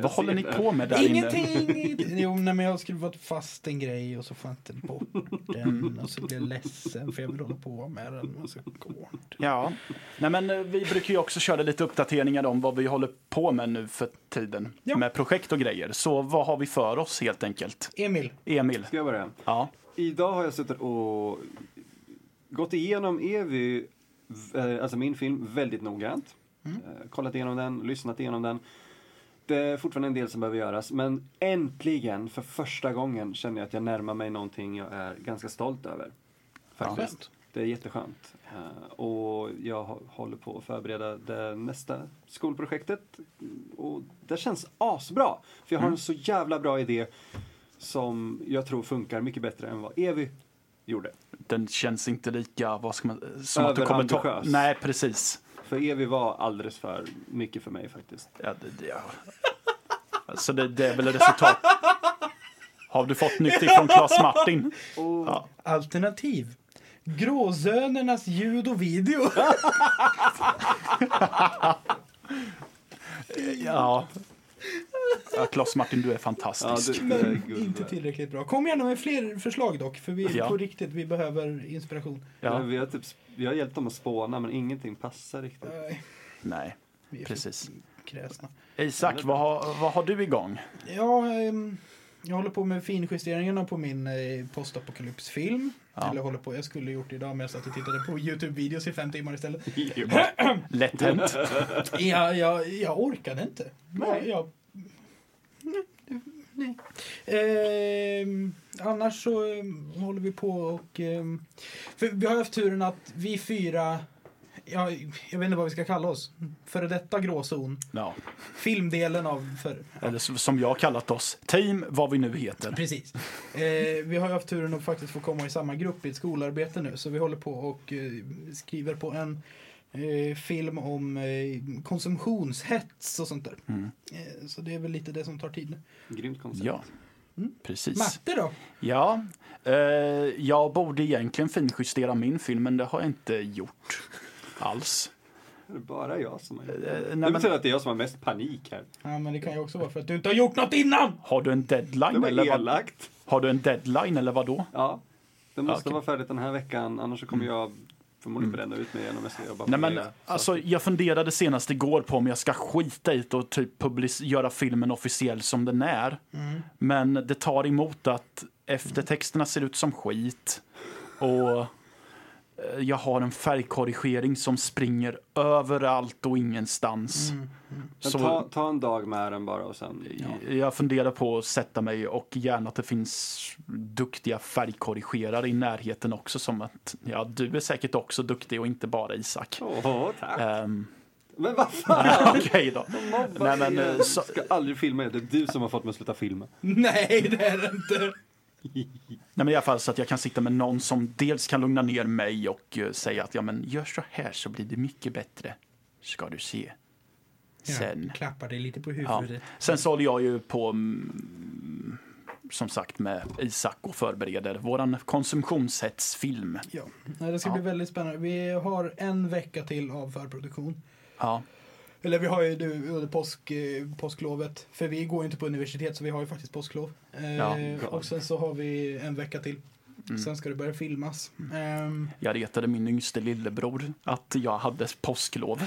Speaker 3: Vad håller ni på med där inne?
Speaker 6: Ingenting! ingenting. Jo, nej, men jag skulle varit fast en grej och så får jag inte bort den och så blir jag ledsen för jag vill hålla på med den och så går det inte.
Speaker 3: Ja. Nej, men eh, vi brukar ju också köra lite uppdateringar om vad vi håller på med nu för tiden.
Speaker 6: Ja.
Speaker 3: Med projekt och grejer. Så vad har vi för oss helt enkelt?
Speaker 6: Emil,
Speaker 3: Emil?
Speaker 5: Ska jag börja?
Speaker 3: Ja.
Speaker 5: Idag har jag suttit och gått igenom Evy, eh, alltså min film, väldigt noggrant. Eh, Kollat igenom den, lyssnat igenom den. Det är fortfarande en del som behöver göras, men äntligen, för första gången, känner jag att jag närmar mig någonting jag är ganska stolt över. Faktiskt.
Speaker 6: Skönt.
Speaker 5: Det är jätteskönt. Eh, Och jag hå- håller på att förbereda det nästa skolprojektet. Och det känns asbra! För jag har en så jävla bra idé som jag tror funkar mycket bättre än vad Evy gjorde.
Speaker 3: Den känns inte lika, vad ska man, som att du kommer ta...
Speaker 5: Överambitiös.
Speaker 3: Nej, precis.
Speaker 5: För Evy var alldeles för mycket för mig faktiskt.
Speaker 3: Ja, det, det, ja. Så det, det är väl resultat. Har du fått nytt ifrån Claes Martin?
Speaker 6: alternativ. Gråzönernas ljud och video.
Speaker 3: Ja. ja Claes Martin, du är fantastisk.
Speaker 6: Men inte tillräckligt bra. Kom gärna med fler förslag dock, för vi
Speaker 3: Ja.
Speaker 6: på riktigt, vi behöver inspiration.
Speaker 3: Ja.
Speaker 5: Vi har typ, jag har hjälpt dem att spåna men ingenting passar riktigt.
Speaker 6: Nej,
Speaker 3: Nej,
Speaker 6: vi är för
Speaker 3: precis.
Speaker 6: kräsna.
Speaker 3: Isak, vad har, vad har du igång?
Speaker 6: Ja, ehm, jag håller på med finjusteringarna på min eh, postapokalypsfilm. Eller håller på, jag skulle gjort det idag men jag satt och tittade på *laughs* Youtube-videos i fem timmar istället.
Speaker 3: Lätt hänt.
Speaker 6: Jag, jag, jag orkade inte. Jag, jag, nej. Ehm, annars så ehm, håller vi på och... ehm, för vi har haft turen att vi fyra, ja, jag vet inte vad vi ska kalla oss, före detta gråzon,
Speaker 3: Ja.
Speaker 6: filmdelen av förr.
Speaker 3: Eller s- som jag har kallat oss, team vad vi nu heter.
Speaker 6: Precis. Eh, vi har ju haft turen att faktiskt få komma i samma grupp i ett skolarbete nu så vi håller på och eh, skriver på en eh, film om eh, konsumtionshets och sånt där.
Speaker 3: Mm.
Speaker 6: Eh, så det är väl lite det som tar tid nu.
Speaker 5: Grymt koncept.
Speaker 3: Ja, precis.
Speaker 6: Matte då?
Speaker 3: Ja, eh, jag borde egentligen finjustera min film, men det har jag inte gjort alls.
Speaker 5: Det är bara jag som har gjort
Speaker 3: Eh,
Speaker 5: det.
Speaker 3: nej,
Speaker 5: Det
Speaker 3: men-
Speaker 5: betyder att det är jag som har mest panik här.
Speaker 6: Ja men det kan ju också vara för att du inte har gjort något innan!
Speaker 3: Har du en
Speaker 5: Det
Speaker 3: deadline?
Speaker 5: var
Speaker 3: Eller vad,
Speaker 5: elakt.
Speaker 3: har du en deadline eller vad då?
Speaker 5: Ja, det måste
Speaker 3: Okej. Mm.
Speaker 5: vara färdigt den här veckan annars så kommer jag förmodligen bränna ut mig igen om jag ska jobba på
Speaker 3: Nej, men,
Speaker 5: det. Så
Speaker 3: alltså, jag funderade senast igår på om jag ska skita i det och typ public- göra filmen officiell som den är.
Speaker 5: Mm.
Speaker 3: Men det tar emot att eftertexterna ser ut som skit. Och eh, jag har en färgkorrigering som springer överallt och ingenstans.
Speaker 5: Mm, Men
Speaker 3: Så-
Speaker 5: ta, ta en dag med den bara och sen...
Speaker 3: Jag funderar på att sätta mig och gärna att det finns duktiga färgkorrigerare i närheten också som att ja, du är säkert också duktig och inte bara Isak.
Speaker 5: Åh, tack!
Speaker 3: Ehm,
Speaker 5: Men vad fan!
Speaker 3: Okej då. *laughs* Nej, men, eh,
Speaker 5: Jag
Speaker 3: så,
Speaker 5: ska aldrig filma igen. Det är du som har fått mig att sluta filma.
Speaker 6: *laughs* Nej det är det inte!
Speaker 3: nej, men i alla fall så att jag kan sitta med någon som dels kan lugna ner mig och eh, säga att ja, men gör så här så blir det mycket bättre. Ska du se. Sen.
Speaker 6: Jag klappar dig lite på
Speaker 3: Ja.
Speaker 6: huvudet.
Speaker 3: Sen så håller jag ju på mm, som sagt med Isak och förbereder våran konsumtionshetsfilm.
Speaker 6: Ja. Nej, det ska
Speaker 3: Ja.
Speaker 6: bli väldigt spännande. Vi har en vecka till av förproduktion.
Speaker 3: Ja.
Speaker 6: Eller vi har ju nu under påsk, eh, påsklovet, för vi går ju inte på universitet så vi har ju faktiskt påsklov. Eh,
Speaker 3: Ja,
Speaker 6: och sen så har vi Mm. en vecka till. Sen ska det börja filmas. Ehm,
Speaker 3: Jag retade min yngste lillebror att jag hade
Speaker 6: *laughs*
Speaker 3: påsklov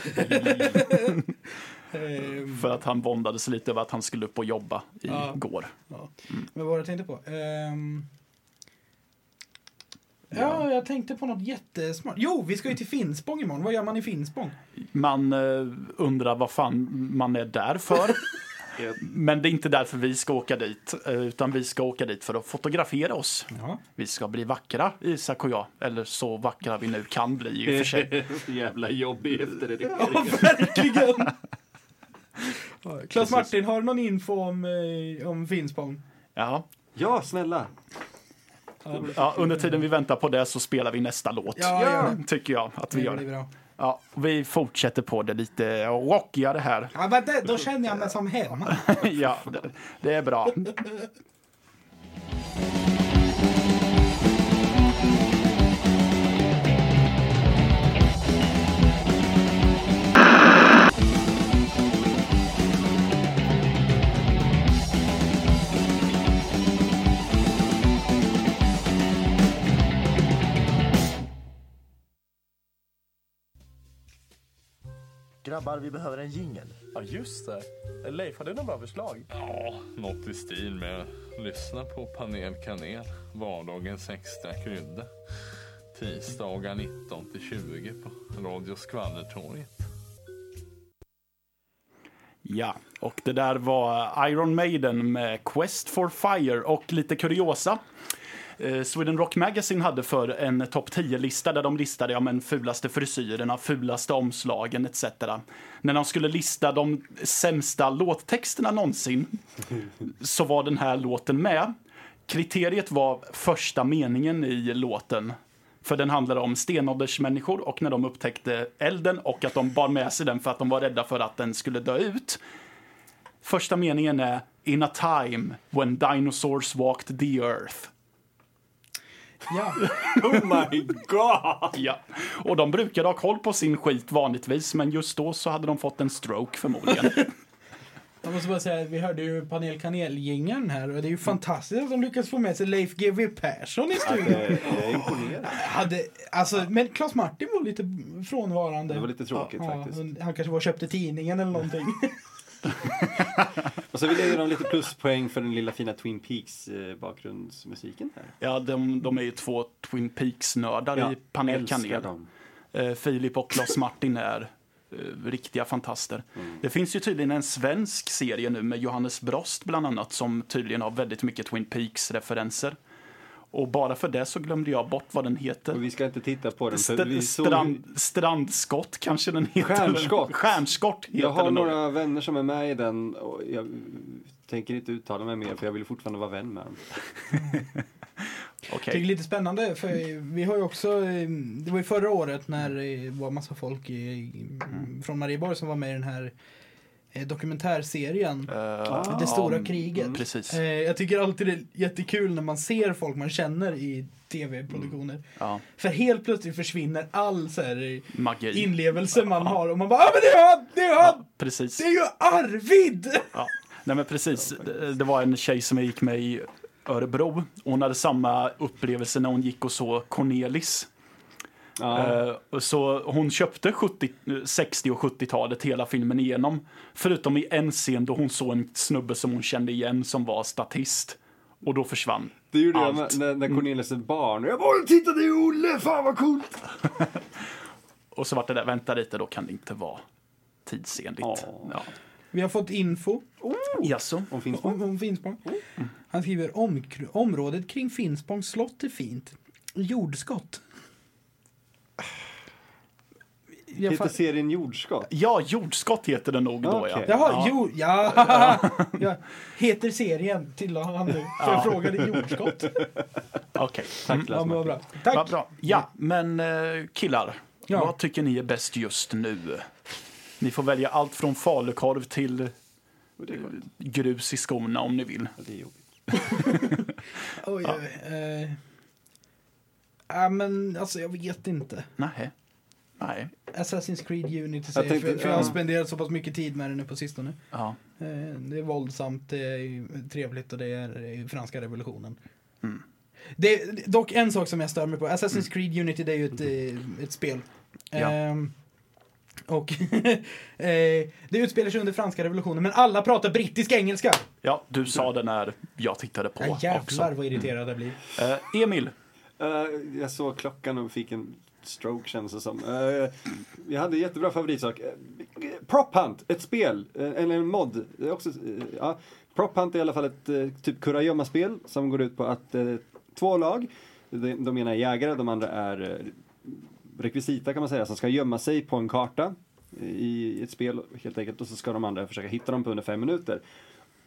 Speaker 6: ehm,
Speaker 3: för att han våndades lite över att han skulle upp och jobba
Speaker 6: Ja.
Speaker 3: igår.
Speaker 6: ja. Men vad var det jag tänkte på? Ehm, ja, jag tänkte på något jättesmart. Jo, vi ska ju till Finspång imorgon. Vad gör man i Finspång?
Speaker 3: Man eh, undrar vad fan man är där för. Men det är inte därför vi ska åka dit, eh, utan vi ska åka dit för att fotografera oss.
Speaker 6: *laughs* Ja.
Speaker 3: Vi ska bli vackra, Isak och jag. Eller så vackra vi nu kan bli i och för sig.
Speaker 6: *laughs*
Speaker 5: *laughs* Jävla jobbig efter det.
Speaker 6: Verkligen! Claes Martin, har du någon info om, eh, om Finspång?
Speaker 3: Ja.
Speaker 5: Ja, snälla!
Speaker 3: Ja, under tiden vi väntar på det så spelar vi nästa låt.
Speaker 6: Ja, ja.
Speaker 3: Tycker jag att vi
Speaker 6: Det blir
Speaker 3: gör.
Speaker 6: bra.
Speaker 3: Ja, vi fortsätter på det lite rockigare här.
Speaker 6: Ja, men det, då känner jag mig som *laughs* hemma.
Speaker 3: *laughs* ja, det, det är bra.
Speaker 7: Grabbar, vi behöver en jingel.
Speaker 9: Ja, just det. Leif, har du några bra förslag?
Speaker 10: Ja, något i stil med lyssna på Panel Kanel vardagens extra krydda. Tisdagar 19 till 20 på Radio Skvallertorget.
Speaker 3: Ja, och det där var Iron Maiden med Quest for Fire och lite kuriosa. Eh, Sweden Rock Magazine hade för en topp 10-lista där de listade ja, men fulaste frisyrerna, fulaste omslagen etc. När de skulle lista de sämsta låttexterna någonsin så var den här låten med. Kriteriet var första meningen i låten. För den handlade om stenåldersmänniskor och när de upptäckte elden och att de bar med sig den för att de var rädda för att den skulle dö ut. Första meningen är In a time when dinosaurs walked the earth.
Speaker 6: Ja.
Speaker 5: Oh my god!
Speaker 3: Ah, Ja. Och de brukade ha koll på sin skit vanligtvis, men just då så hade de fått en stroke
Speaker 5: *laughs*
Speaker 3: förmodligen.
Speaker 6: Jag måste bara säga att vi hörde ju Panel Kanel-jingeln här och det är
Speaker 5: Mm.
Speaker 6: ju fantastiskt att de lyckas få med sig Leif GW Persson i studion.
Speaker 5: Eh, Jag är imponerad.
Speaker 6: Hade, alltså, men Claes Martin var lite frånvarande.
Speaker 5: Det var lite tråkigt
Speaker 6: ja,
Speaker 5: faktiskt.
Speaker 6: han- Han kanske var och köpte tidningen eller
Speaker 5: *laughs*
Speaker 6: någonting.
Speaker 5: Och så vill jag ge dem lite pluspoäng för den lilla fina Twin Peaks eh, bakgrundsmusiken här.
Speaker 3: Ja, de, de är ju två Twin Peaks-nördar i Panel
Speaker 5: älskar
Speaker 3: Kanel.
Speaker 5: dem.
Speaker 3: Eh, Filip och Claes Martin är eh, riktiga fantaster.
Speaker 5: Mm.
Speaker 3: Det finns ju tydligen en svensk serie nu med Johannes Brost bland annat som tydligen har väldigt mycket Twin Peaks-referenser. Och bara för det så glömde jag bort vad den heter.
Speaker 5: Och vi ska inte titta på den. För
Speaker 3: St-
Speaker 5: vi såg...
Speaker 3: strand, strandskott kanske den heter.
Speaker 5: Stjärnskott.
Speaker 3: Stjärnskott heter
Speaker 5: Jag har
Speaker 3: den nog.
Speaker 5: några vänner som är med i den och jag tänker inte uttala mig mer för jag vill fortfarande vara vän med dem.
Speaker 3: Okej.
Speaker 6: Jag tycker det är lite spännande för vi har ju också, eh, det var ju förra året när
Speaker 5: Mm.
Speaker 6: det var massa folk i, i- från Marieborg som var med i den här eh, dokumentärserien.
Speaker 3: Eh,
Speaker 6: det stora
Speaker 3: ja,
Speaker 6: kriget.
Speaker 3: mm, Precis.
Speaker 6: Eh, Jag tycker alltid det är jättekul när man ser folk man känner i tv-produktioner.
Speaker 5: Mm.
Speaker 3: Ja.
Speaker 6: För helt plötsligt försvinner all så här eh,
Speaker 3: Magi.
Speaker 6: inlevelse man har och man bara ah, men det är han! Det är han!
Speaker 3: precis.
Speaker 6: Det är ju Arvid!
Speaker 3: Ja. Nej, men precis. Det- Det var en tjej som jag gick med i Örebro. Hon hade samma upplevelse när hon gick och såg Cornelis.
Speaker 5: Ja.
Speaker 3: Eh, och Så hon köpte 70, eh, 60 och 70-talet hela filmen igenom. Förutom i en scen då hon såg en snubbe som hon kände igen som var statist. Och då försvann
Speaker 5: Det gjorde jag
Speaker 3: allt.
Speaker 5: med, när, när Cornelis är barn. Jag bara titta det är Olle, fan vad coolt!
Speaker 3: Och så vart det där, vänta lite, då kan det inte vara tidsenligt.
Speaker 5: Ja.
Speaker 3: Ja.
Speaker 6: Vi har fått info
Speaker 3: Jaså?
Speaker 5: Om finns
Speaker 6: om, om Finspång. Han skriver om, området kring Finspångs slott är fint. Jordskott. Jag
Speaker 5: Heter
Speaker 6: fa-
Speaker 5: serien Jordskott?
Speaker 3: Ja, jordskott heter det nog då
Speaker 5: Okej.
Speaker 3: ja.
Speaker 6: Jaha, ja. jord... Ja. ja. Heter serien, tillade han nu. För jag frågade jordskott.
Speaker 3: Okej, Mm. tack
Speaker 6: Ja,
Speaker 3: Lasse.
Speaker 6: men vad bra.
Speaker 3: Vad
Speaker 6: Tack!
Speaker 3: bra. Ja, men eh, killar,
Speaker 6: Ja.
Speaker 3: vad tycker ni är bäst just nu? Ni får välja allt från falukorv till eh, grus i skorna om ni vill.
Speaker 5: Det är jobbigt.
Speaker 6: Oj, oj, oj. Eh, Ja, men alltså jag vet inte.
Speaker 3: Nej. Nej.
Speaker 6: Assassin's Creed Unity
Speaker 5: Jag
Speaker 6: säger jag
Speaker 5: tänkte-
Speaker 6: för, för jag har
Speaker 5: ja.
Speaker 6: spenderat så pass mycket tid med den nu på sistone.
Speaker 3: Ja.
Speaker 6: Eh, Det är våldsamt, det är trevligt och det är eh, franska revolutionen.
Speaker 3: Mm.
Speaker 6: Det är dock en sak som jag stör mig på. Assassin's Creed Unity det är ju ett, eh, ett spel.
Speaker 3: Ja.
Speaker 6: Ehm, och *laughs* eh, det utspelar sig under franska revolutionen men alla pratar brittisk engelska.
Speaker 3: ja, du sa det när jag tittade på
Speaker 6: Ja, jävlar
Speaker 3: också.
Speaker 6: vad irriterad jag blir.
Speaker 3: Eh, Emil,
Speaker 5: Eh, jag såg klockan och fick en stroke känns det som. Eh, jag hade en jättebra favoritsak. Uh, Prop Hunt, ett spel, eh, eller en mod. Det är också, eh, ja. Prop Hunt är i alla fall ett eh, typ kurragömma-spel som går ut på att eh, två lag, de, de ena är jägare, de andra är eh, rekvisita kan man säga, som ska gömma sig på en karta eh, i ett spel helt enkelt och så ska de andra försöka hitta dem på under fem minuter.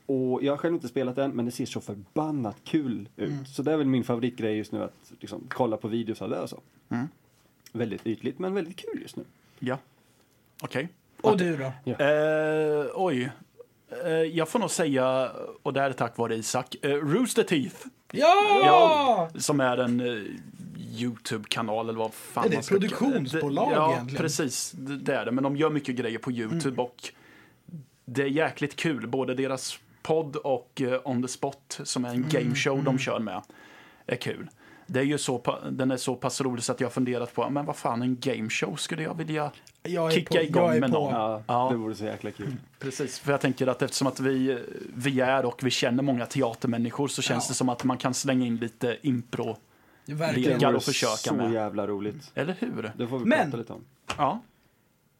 Speaker 5: Och jag har själv inte spelat den men det ser så förbannat kul ut. Så det är väl min favoritgrej just nu att liksom, kolla på videos av det och så.
Speaker 3: Mm.
Speaker 5: Väldigt ytligt men väldigt kul just nu.
Speaker 3: ja. Okej.
Speaker 6: Och du då?
Speaker 3: Eh, oj. Eh, jag får nog säga, och det här är tack vare Isak, eh, Rooster Teeth.
Speaker 6: Ja!
Speaker 3: Ja, som är en eh, Youtube-kanal eller vad fan
Speaker 6: Är det
Speaker 3: man
Speaker 6: ett produktionsbolag
Speaker 3: Det- ja,
Speaker 6: egentligen? Mm.
Speaker 3: precis. Det det är det. Men de gör mycket grejer på Youtube och det är jäkligt kul. Både deras podd och eh, On the Spot som är en
Speaker 6: Mm,
Speaker 3: gameshow de kör med är kul. Det är ju så, pa- den är så pass rolig så att jag har funderat på, men vad fan en gameshow skulle jag vilja
Speaker 6: Jag
Speaker 3: kicka
Speaker 6: på-
Speaker 3: igång
Speaker 6: jag är
Speaker 3: med
Speaker 6: på.
Speaker 3: någon.
Speaker 5: Ja,
Speaker 3: Ja.
Speaker 5: Det vore så jäkla kul.
Speaker 3: Precis, för jag tänker att eftersom att vi, vi är och vi känner många teatermänniskor så känns
Speaker 6: Ja.
Speaker 3: det som att man kan slänga in lite impro,
Speaker 6: Verkligen.
Speaker 3: Lekar
Speaker 5: vore
Speaker 3: att försöka
Speaker 5: så
Speaker 3: med.
Speaker 5: jävla roligt.
Speaker 3: eller hur?
Speaker 5: Det får vi
Speaker 6: Men-
Speaker 5: prata lite om.
Speaker 3: Ja,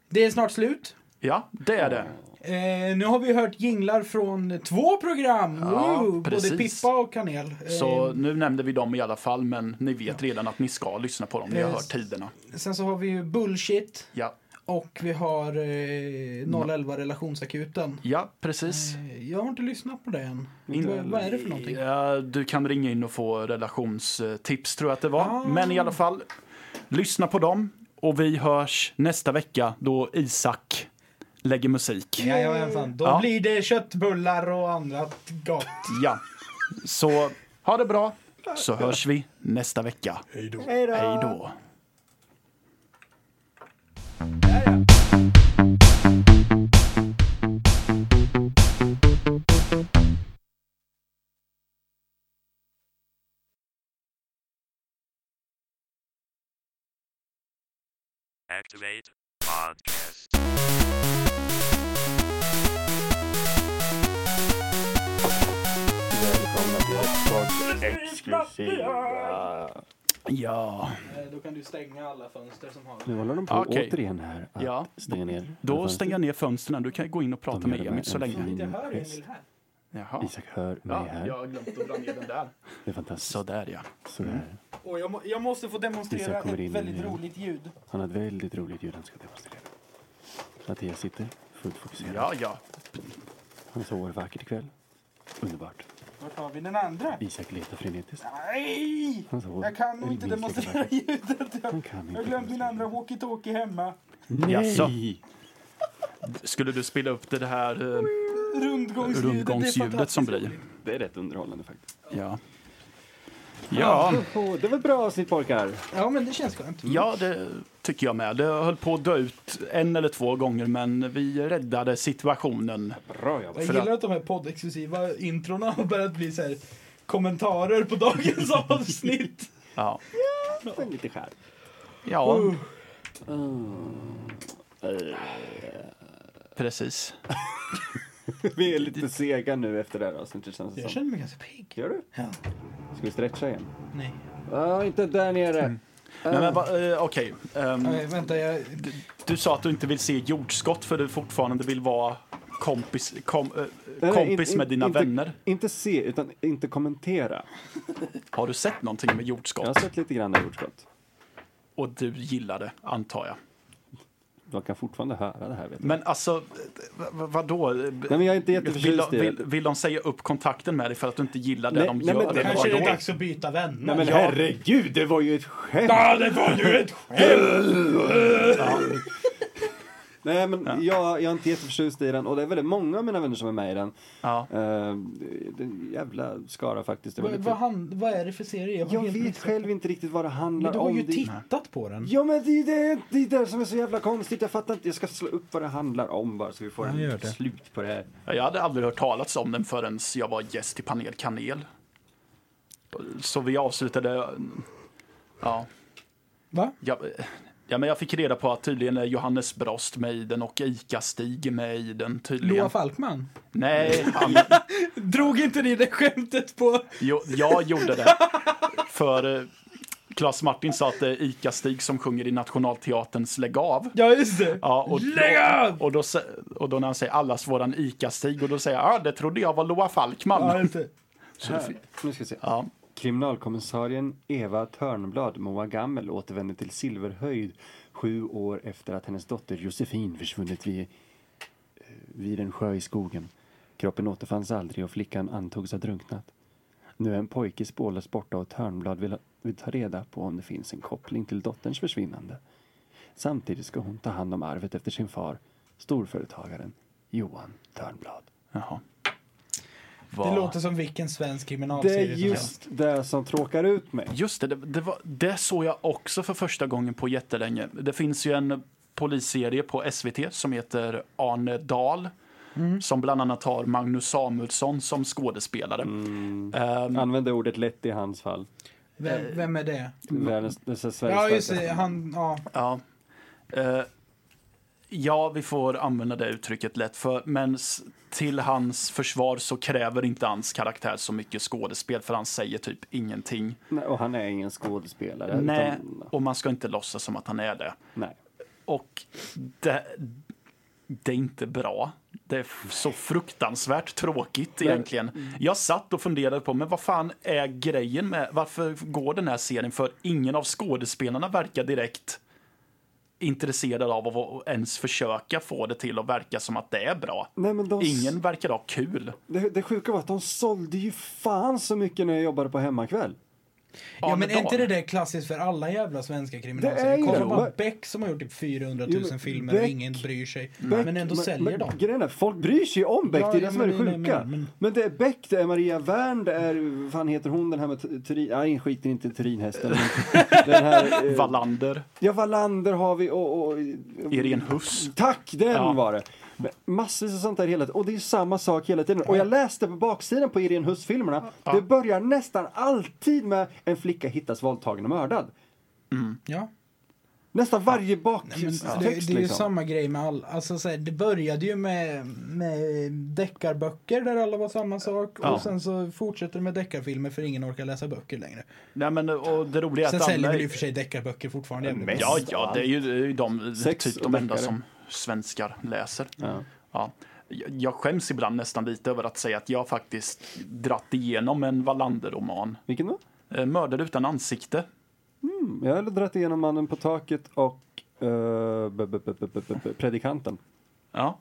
Speaker 6: Det är snart slut.
Speaker 3: ja det är det.
Speaker 6: Eh, nu har vi hört jinglar från två program.
Speaker 3: Ja,
Speaker 6: Woo! Både
Speaker 3: precis.
Speaker 6: Pippa och Kanel.
Speaker 3: Så
Speaker 6: Eh,
Speaker 3: nu nämnde vi dem i alla fall, men ni vet redan att ni ska lyssna på dem. Ni har
Speaker 6: Eh,
Speaker 3: hört tiderna.
Speaker 6: sen så har vi ju Bullshit.
Speaker 3: Ja,
Speaker 6: Och vi har
Speaker 3: Mm.
Speaker 6: eh, 011 Relationsakuten.
Speaker 3: ja precis.
Speaker 6: Eh, jag har inte lyssnat på det än. Vad, vad är det för någonting?
Speaker 3: Ja, du kan ringa in och få relationstips, tror jag att det var. Men i alla fall, lyssna på dem. Och vi hörs nästa vecka då Isak lägger musik.
Speaker 6: Jajamensan, då
Speaker 3: Ja.
Speaker 6: blir det köttbullar och annat gott.
Speaker 3: Ja. Så ha det bra, så hörs vi nästa vecka. Hej då. Hej då.
Speaker 11: Activate podcast.
Speaker 5: Välkomna till ett kort exklusiva
Speaker 3: Ja.
Speaker 6: Eh, Då kan du stänga alla fönster som har...
Speaker 5: Nu
Speaker 3: Mm,
Speaker 5: håller de på
Speaker 3: Okej.
Speaker 5: återigen här att
Speaker 3: Ja.
Speaker 5: stänga ner.
Speaker 3: Då stänger jag ner fönstren. Du kan gå in och prata
Speaker 5: De gör
Speaker 3: med
Speaker 5: det med
Speaker 3: Emil så
Speaker 5: en
Speaker 3: länge.
Speaker 5: fin
Speaker 6: Jag hör
Speaker 5: gest.
Speaker 6: Emil här.
Speaker 3: Jaha.
Speaker 5: Isak hör mig
Speaker 3: Ja,
Speaker 5: här.
Speaker 3: jag har glömt att dra ner den där.
Speaker 5: Det är fantastiskt.
Speaker 3: Sådär ja.
Speaker 5: Sådär.
Speaker 6: Och jag, må, jag måste få demonstrera
Speaker 5: Isak kommer
Speaker 6: ett
Speaker 5: in
Speaker 6: väldigt
Speaker 5: igen.
Speaker 6: roligt ljud.
Speaker 5: Han har ett väldigt roligt ljud han ska demonstrera. Mattias sitter fullt fokuserad.
Speaker 3: Ja, ja.
Speaker 5: Han sover vackert ikväll. Underbart.
Speaker 6: Vart har vi den andra?
Speaker 5: Isak letar frenetiskt.
Speaker 6: Nej!
Speaker 5: Han sover.
Speaker 6: Jag kan nog inte
Speaker 5: Elvis leker
Speaker 6: demonstrera *laughs*
Speaker 5: vackert.
Speaker 6: ljudet. Jag,
Speaker 5: Han kan
Speaker 6: jag har
Speaker 5: inte.
Speaker 6: glömt min andra walkie-talkie hemma.
Speaker 3: Jaså? Skulle du spela upp det här eh,
Speaker 6: Rundgångsljudet, det är
Speaker 3: rundgångsljudet som
Speaker 6: fantastiskt.
Speaker 3: blir?
Speaker 5: Det är rätt underhållande faktiskt.
Speaker 3: Ja. Ja,
Speaker 5: Åh, det var ett bra avsnitt pojkar.
Speaker 6: Ja, men det känns skönt.
Speaker 3: ja, det tycker jag med. Det höll på att dö ut en eller två gånger, men vi räddade situationen.
Speaker 5: Bra jobbat.
Speaker 6: Jag
Speaker 3: För
Speaker 6: gillar att de här poddexklusiva introna har börjat bli så här kommentarer på dagens avsnitt.
Speaker 3: Ja.
Speaker 5: Sen lite skär.
Speaker 3: ja, Eh,
Speaker 6: Uh,
Speaker 5: Uh.
Speaker 3: precis.
Speaker 5: Uh. Vi är lite sega nu efter det här avsnittet känns det
Speaker 6: jag
Speaker 5: som.
Speaker 6: känner mig ganska pigg.
Speaker 5: Gör du?
Speaker 6: Ja.
Speaker 5: Ska vi stretcha igen?
Speaker 6: Nej. Mm.
Speaker 5: Ja, inte där nere.
Speaker 3: Nej, men va- eh, okej. Ehm,
Speaker 6: Nej, vänta, jag...
Speaker 3: Du sa att du inte vill se jordskott för du fortfarande vill vara kompis, kom, eh,
Speaker 5: Nej, nej,
Speaker 3: kompis
Speaker 5: in-
Speaker 3: med dina
Speaker 5: inte,
Speaker 3: vänner.
Speaker 5: Inte se, utan inte kommentera.
Speaker 3: Har du sett någonting med
Speaker 5: Jag
Speaker 3: jordskott?
Speaker 5: har sett lite grann av jordskott.
Speaker 3: Och du gillar det, antar jag.
Speaker 5: De kan fortfarande höra det här. Vet du.
Speaker 3: Men alltså, vad, vadå?
Speaker 5: Nej, men jag är inte
Speaker 3: Vill
Speaker 5: jätteförtjust
Speaker 3: de,
Speaker 5: i det.
Speaker 3: vill, vill de säga upp kontakten med dig för att du inte gillar det
Speaker 5: Nej,
Speaker 3: de
Speaker 5: nej,
Speaker 3: gör?
Speaker 5: men det
Speaker 3: eller
Speaker 6: Kanske
Speaker 3: vadå?
Speaker 6: är det dags att byta vänner.
Speaker 5: Nej men herregud, det var ju ett skämt!
Speaker 6: Ja, det var ju ett
Speaker 5: Nej men jag, jag är inte jätteförtjust i den och det är väldigt många av mina vänner som är med i den.
Speaker 3: Ja.
Speaker 5: Eh, det är en jävla skara faktiskt. Det var
Speaker 6: Vad,
Speaker 5: lite-
Speaker 6: vad, han, vad är det för serie? har
Speaker 5: Jag
Speaker 6: helt
Speaker 5: vet
Speaker 6: missat.
Speaker 5: själv inte riktigt vad det handlar
Speaker 6: Men du har
Speaker 5: om.
Speaker 6: ju
Speaker 5: Det-
Speaker 6: tittat på den.
Speaker 5: Ja men det är det, det är det som är så jävla konstigt. Jag fattar inte. Jag ska slå upp vad det handlar om bara så vi får
Speaker 4: Ja, gör
Speaker 5: en
Speaker 4: det.
Speaker 5: slut på det här.
Speaker 3: Jag hade aldrig hört talas om den förrän jag var gäst i Panel Kanel. Så vi avslutade... Ja.
Speaker 6: Va?
Speaker 3: Jag, ja, men jag fick reda på att tydligen är Johannes Brost med i den och Ica-Stig med i den tydligen.
Speaker 6: Loa Falkman.
Speaker 3: Nej, han,
Speaker 6: Drog inte ni det skämtet på...
Speaker 3: jo, jag gjorde det. För eh, Claes Martin sa att det är Ica-Stig som sjunger i Nationalteaterns Lägg av.
Speaker 6: Ja, just det.
Speaker 3: Ja, och,
Speaker 6: Lägg av!
Speaker 3: då, och, då, sä- och då när han säger allas våran Ica-Stig och då säger jag, ah, det trodde jag var Loa
Speaker 6: Ja,
Speaker 3: Falkman.
Speaker 6: just det.
Speaker 5: här. Nu ska vi se.
Speaker 3: Ja.
Speaker 5: Kriminalkommissarien Eva Törnblad, Moa Gammel, återvänder till Silverhöjd sju år efter att hennes dotter Josefin försvunnit vid, eh, vid en sjö i skogen. Kroppen återfanns aldrig och flickan antogs ha drunknat. Nu är en pojke spårlöst borta och Törnblad vill, ha- vill ta reda på om det finns en koppling till dotterns försvinnande. Samtidigt ska hon ta hand om arvet efter sin far, storföretagaren Johan Törnblad.
Speaker 3: Jaha.
Speaker 6: Det
Speaker 3: Vad-
Speaker 6: låter som vilken svensk
Speaker 5: Det
Speaker 6: kriminalserie
Speaker 5: är just det som tråkar ut mig.
Speaker 3: Just det, det, det, var, det såg jag också för första gången på jättelänge. Det finns ju en polisserie på SVT som heter Arne Dahl.
Speaker 6: Mm.
Speaker 3: Som bland annat har Magnus Samuelsson som skådespelare. Ehm,
Speaker 5: Använder ordet lätt i hans fall.
Speaker 6: Vem, vem är det?
Speaker 5: Världens, det är så Sveriges
Speaker 6: Ja, Eh, just det.
Speaker 5: starkaste.
Speaker 6: Han, ja.
Speaker 3: ja. Eh, ja, vi får använda det uttrycket lätt. För, men s- till hans försvar så kräver inte hans karaktär så mycket skådespel för han säger typ ingenting.
Speaker 5: Nej, och han är ingen skådespelare.
Speaker 3: Nej,
Speaker 5: Utan,
Speaker 3: och man ska inte låtsas som att han är det.
Speaker 5: nej.
Speaker 3: Och det, det är inte bra. Det är f- så fruktansvärt tråkigt
Speaker 5: Mm.
Speaker 3: egentligen. Jag satt och funderade på, men vad fan är grejen med, varför går den här serien? För ingen av skådespelarna verkar direkt intresserad av att vara- ens försöka få det till att verka som att det är bra.
Speaker 5: nej men de,
Speaker 3: Ingen verkar ha kul.
Speaker 5: det, det sjuka var att de sålde ju fan så mycket när jag jobbade på hemmakväll.
Speaker 6: Ja, men är
Speaker 3: Arne
Speaker 6: inte
Speaker 3: Dahl.
Speaker 6: det där klassiskt för alla jävla svenska
Speaker 5: Det är
Speaker 6: kriminalserier?
Speaker 5: ju
Speaker 6: Kolla
Speaker 5: det.
Speaker 6: på
Speaker 5: Men-
Speaker 6: Beck som har gjort typ 400 000
Speaker 5: Jo, men
Speaker 6: filmer och
Speaker 5: Beck-
Speaker 6: ingen bryr sig.
Speaker 5: Beck-
Speaker 6: men ändå säljer de.
Speaker 5: Grejen är, folk bryr sig ju om Beck,
Speaker 6: Ja,
Speaker 5: det är det
Speaker 6: ja,
Speaker 5: som är
Speaker 6: men
Speaker 5: det
Speaker 6: nej,
Speaker 5: sjuka.
Speaker 6: nej,
Speaker 5: Men,
Speaker 6: men- men-
Speaker 5: det är Beck, det är Maria Wern, det är, vad fan heter hon den här med Tu- Turin, nej skiter inte i
Speaker 3: *laughs*
Speaker 5: Turinhästen. men den här, eh,
Speaker 3: Wallander,
Speaker 5: ja Wallander har vi och, och
Speaker 3: Irene Huss.
Speaker 5: Tack, den
Speaker 3: Ja.
Speaker 5: var det. Men Massvis av sånt där hela tiden. Och det är samma sak hela tiden. Och jag läste på baksidan på Irene Huss-filmerna. Det börjar nästan alltid med en flicka hittas våldtagen och mördad.
Speaker 6: Ja.
Speaker 5: Nästan varje
Speaker 6: Nej, men
Speaker 5: baktext
Speaker 6: det, det är ju
Speaker 5: liksom.
Speaker 6: samma grej med alla. Alltså, så här, det började ju med, med deckarböcker där alla var samma sak.
Speaker 3: Ja.
Speaker 6: Och sen så fortsätter det med deckarfilmer för ingen orkar läsa böcker längre.
Speaker 3: Nej, men och det roliga är
Speaker 6: Sen
Speaker 3: att
Speaker 6: säljer
Speaker 3: alla...
Speaker 6: väl i och för sig deckarböcker fortfarande. jävligt bra.
Speaker 3: Ja, ja, det är ju det är ju de,
Speaker 6: Sex
Speaker 3: typ
Speaker 6: och
Speaker 3: de enda
Speaker 6: deckare.
Speaker 3: som svenskar läser. Ja. Jag- Jag skäms ibland nästan lite över att säga att jag faktiskt dratt igenom en Wallander-roman. Eh,
Speaker 5: Vilken då?
Speaker 3: Mördare utan ansikte.
Speaker 5: Mm, jag har dragit igenom Mannen på taket och eh, b- b- b- b- b- b- Predikanten.
Speaker 3: Ja.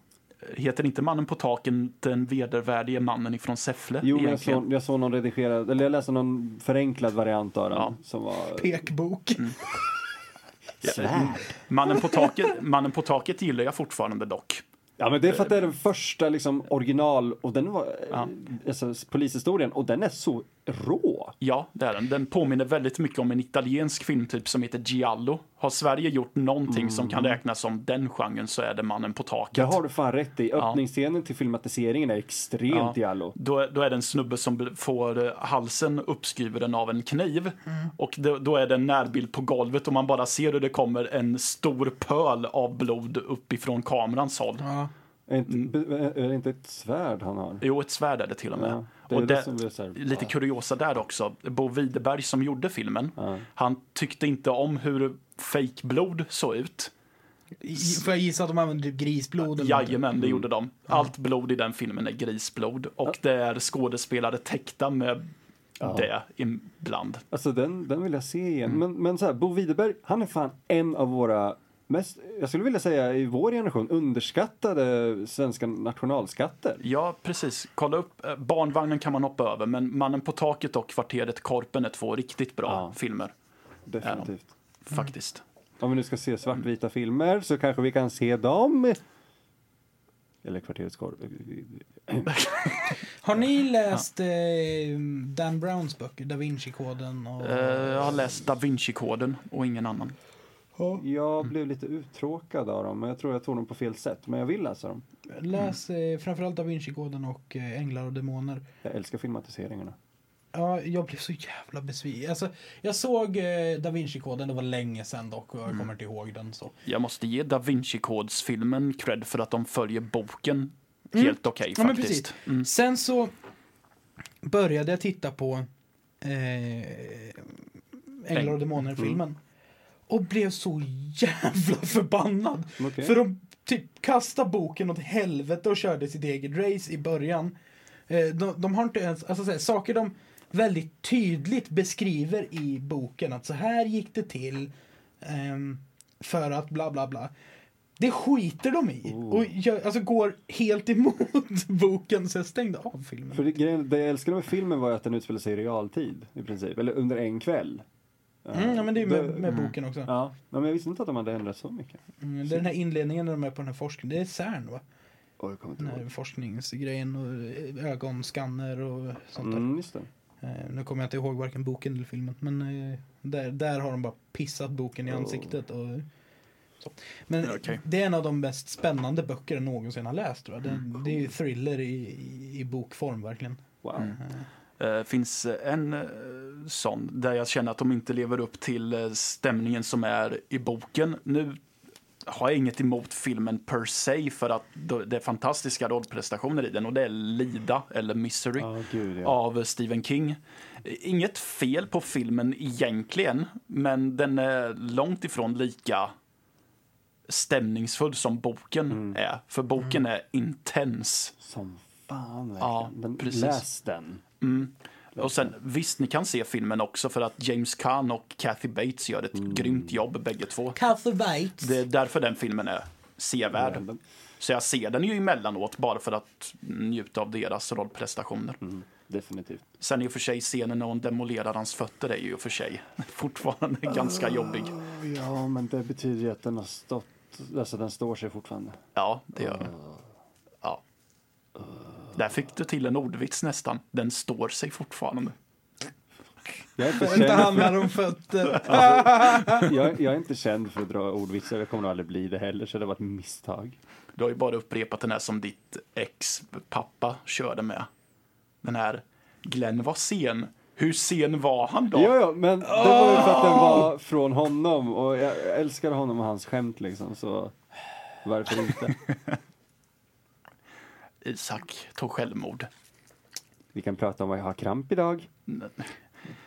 Speaker 3: Heter inte mannen på taken den vedervärdige mannen ifrån Säffle?
Speaker 5: Jo, men jag
Speaker 3: egentligen?
Speaker 5: såg, jag såg någon redigerad, eller jag läste någon förenklad variant av den som var...
Speaker 6: Pekbok.
Speaker 3: Ja,
Speaker 5: Svärd.
Speaker 3: Mannen på, taket, *laughs* mannen på taket gillar jag fortfarande dock.
Speaker 5: Ja, men det är för att det är den första liksom original och den var ja. alltså, polishistorien och den är så rå.
Speaker 3: Ja, det är den. Den påminner väldigt mycket om en italiensk filmtyp som heter Giallo. Har Sverige gjort någonting
Speaker 5: Mm.
Speaker 3: som kan räknas som den genren så är det Mannen på taket.
Speaker 5: Det har du fan rätt i. Öppningsscenen till filmatiseringen är extremt
Speaker 3: Ja.
Speaker 5: giallo.
Speaker 3: Då, är- då är det en snubbe som bl- får eh, halsen uppskriven av en kniv och då, då är det en närbild på golvet och man bara ser hur det kommer en stor pöl av blod uppifrån kamerans håll.
Speaker 5: Är inte, be- är det inte ett svärd han har?
Speaker 3: Jo, ett svärd är det till och med.
Speaker 5: Ja, det är
Speaker 3: och
Speaker 5: det som blir så här-
Speaker 3: lite kuriosa där också. Bo Widerberg som gjorde filmen, han tyckte inte om hur fejkblod såg ut.
Speaker 6: I- Får jag gissa att de använder typ grisblod? eller någonting?
Speaker 3: Jajamän,
Speaker 5: Mm.
Speaker 3: det gjorde de. Allt blod i den filmen är grisblod och det är skådespelare täckta med det ibland.
Speaker 5: Alltså den, den vill jag se igen. Men, men så här, Bo Widerberg, han är fan en av våra mest, jag skulle vilja säga i vår generation, underskattade svenska nationalskatter.
Speaker 3: Ja, precis. Kolla upp. eh, Barnvagnen kan man hoppa över, men Mannen på taket och Kvarteret Korpen är två riktigt bra filmer.
Speaker 6: Mm.
Speaker 5: Definitivt.
Speaker 3: Faktiskt.
Speaker 5: Om vi nu ska se svartvita filmer så kanske vi kan se dem. Eller Kvarterets korv.
Speaker 6: Har ni läst eh, Dan Browns böcker? Da Vinci-koden och...
Speaker 3: Eh, Jag har läst Da Vinci-koden och ingen annan.
Speaker 5: Jag blev lite uttråkad av dem, men jag tror jag tog dem på fel sätt. Men jag vill läsa dem.
Speaker 6: Läs eh, framförallt Da Vinci-koden och eh, Änglar och Demoner.
Speaker 5: Jag älskar filmatiseringarna.
Speaker 6: Ja, jag blev så jävla besviken. Alltså, jag såg eh, Da Vinci-koden, det var länge sedan dock och jag kommer inte ihåg den. Så.
Speaker 3: Jag måste ge Da Vinci-kodsfilmen cred för att de följer boken
Speaker 6: Mm.
Speaker 3: helt okej
Speaker 6: Ja, men
Speaker 3: faktiskt. Mm.
Speaker 6: precis. Sen så började jag titta på eh, Änglar och Demoner-filmen.
Speaker 3: mm.
Speaker 6: Och blev så jävla förbannad.
Speaker 5: Okej.
Speaker 6: För de typ kastade boken åt helvete och körde sitt eget race i början. Eh, de, de har inte ens, alltså så här, saker de väldigt tydligt beskriver i boken att så här gick det till ehm, för att bla bla bla. Det skiter de i och gör, alltså går helt emot *laughs* boken så jag stängde av filmen.
Speaker 5: För det, grejen- det jag älskade med filmen var ju att den utspelade sig i realtid i princip, eller under en kväll.
Speaker 6: Mm, ja, men det är ju med, med boken också.
Speaker 5: Ja, men jag visste inte att de hade ändrat så mycket.
Speaker 6: Mm, det är den här inledningen när de är på den här forskningen. Det är CERN va?
Speaker 5: Oj, jag kommer inte
Speaker 6: Den här
Speaker 5: ihåg.
Speaker 6: forskningsgrejen och eh, ögonskanner och sånt där.
Speaker 5: Mm, just det.
Speaker 6: Eh, nu kommer jag inte ihåg varken boken eller filmen. Men eh, där, där har de bara pissat boken i
Speaker 5: Oh.
Speaker 6: ansiktet. Och, så. Men
Speaker 3: Ja, okej.
Speaker 6: det är en av de mest spännande böcker jag någonsin har läst. Tror jag. Det,
Speaker 5: Mm.
Speaker 6: det är ju thriller i, i, i bokform verkligen.
Speaker 5: Wow.
Speaker 3: Eh, finns en eh, sån där jag känner att de inte lever upp till eh, stämningen som är i boken. Nu har jag inget emot filmen per se för att då- det är fantastiska rollprestationer i den och det är Lida eller Misery
Speaker 5: Ja, gud, ja.
Speaker 3: av eh, Stephen King. Inget fel på filmen egentligen, men den är långt ifrån lika stämningsfull som boken
Speaker 5: Mm.
Speaker 3: är. För boken är intens.
Speaker 5: Som fan verkligen.
Speaker 3: Ja,
Speaker 5: den,
Speaker 3: precis.
Speaker 5: Läs den.
Speaker 3: Och sen, visst, ni kan se filmen också för att James Caan och Kathy Bates gör ett grymt jobb bägge två.
Speaker 6: Kathy Bates.
Speaker 3: Det är därför den filmen är sevärd. Så jag ser den ju emellanåt bara för att njuta av deras rollprestationer.
Speaker 5: Definitivt.
Speaker 3: Sen i och för sig scenen när hon demolerar hans fötter är ju i och för sig *laughs* fortfarande ganska jobbig.
Speaker 5: Ja, men det betyder ju att den har stått, alltså den står sig fortfarande.
Speaker 3: Ja, det gör den. Ja. Där fick du till en ordvits nästan. Den står sig fortfarande.
Speaker 5: Jag är inte
Speaker 6: Det
Speaker 5: känd för,
Speaker 6: handlar om fötter.
Speaker 5: jag, jag är inte känd för att dra ordvitsar, jag kommer nog aldrig bli det heller, så det var ett misstag.
Speaker 3: Du har ju bara upprepat den här som ditt ex pappa körde med. Den här Glenn var sen, Hur sen var han då?
Speaker 5: Ja, ja, men det var ju för att den var från honom och jag älskar honom och hans skämt liksom, så varför inte?
Speaker 3: Isak tog självmord.
Speaker 5: Vi kan prata om vad jag har kramp idag.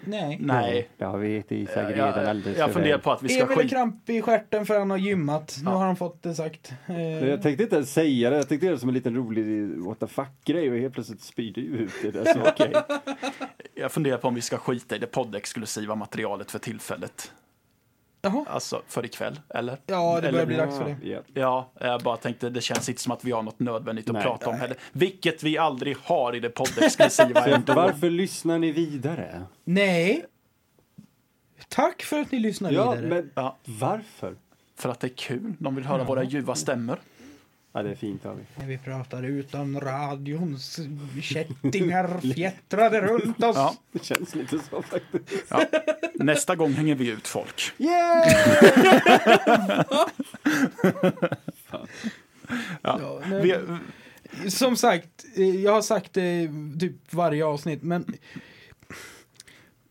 Speaker 6: Nej.
Speaker 3: Nej.
Speaker 5: Det har vi gett Isak
Speaker 3: Jag-
Speaker 5: redan
Speaker 3: jag-
Speaker 5: alldeles
Speaker 3: jag
Speaker 5: för
Speaker 3: funderar
Speaker 5: väl.
Speaker 3: på att vi ska
Speaker 6: Emil
Speaker 3: skita-
Speaker 6: är kramp i stjärten för han har gymmat. Nu har han fått det sagt. Eh,
Speaker 5: Jag tänkte inte ens säga det, jag tänkte göra det som en liten rolig what the fuck-grej och helt plötsligt spyr du ut det där,
Speaker 3: *laughs*
Speaker 5: så okej.
Speaker 3: Jag funderar på om vi ska skita i det poddexklusiva materialet för tillfället.
Speaker 6: Jaha.
Speaker 3: Alltså för ikväll, eller?
Speaker 6: Ja, det börjar
Speaker 3: eller,
Speaker 6: bli dags för det.
Speaker 5: Ja.
Speaker 3: Ja, jag bara tänkte det känns inte som att vi har något nödvändigt att
Speaker 5: Nej.
Speaker 3: prata om heller. Vilket vi aldrig har i det
Speaker 5: *laughs*
Speaker 3: poddexklusiva
Speaker 5: Så
Speaker 3: ändå.
Speaker 5: varför lyssnar ni vidare?
Speaker 6: Nej. Tack för att ni lyssnar
Speaker 5: Ja,
Speaker 6: vidare.
Speaker 5: men varför?
Speaker 3: För att det är kul. De vill höra
Speaker 6: Ja.
Speaker 3: våra ljuva stämmor.
Speaker 5: Ja, det är fint av er.
Speaker 6: När vi pratar utan radions kättingar
Speaker 3: *laughs*
Speaker 6: fjättrade runt oss.
Speaker 3: Ja.
Speaker 5: Det känns lite så faktiskt.
Speaker 3: Ja. Nästa gång hänger vi ut folk.
Speaker 6: Ja, nej.
Speaker 3: Vi,
Speaker 6: Som sagt, eh, jag har sagt det typ varje avsnitt, men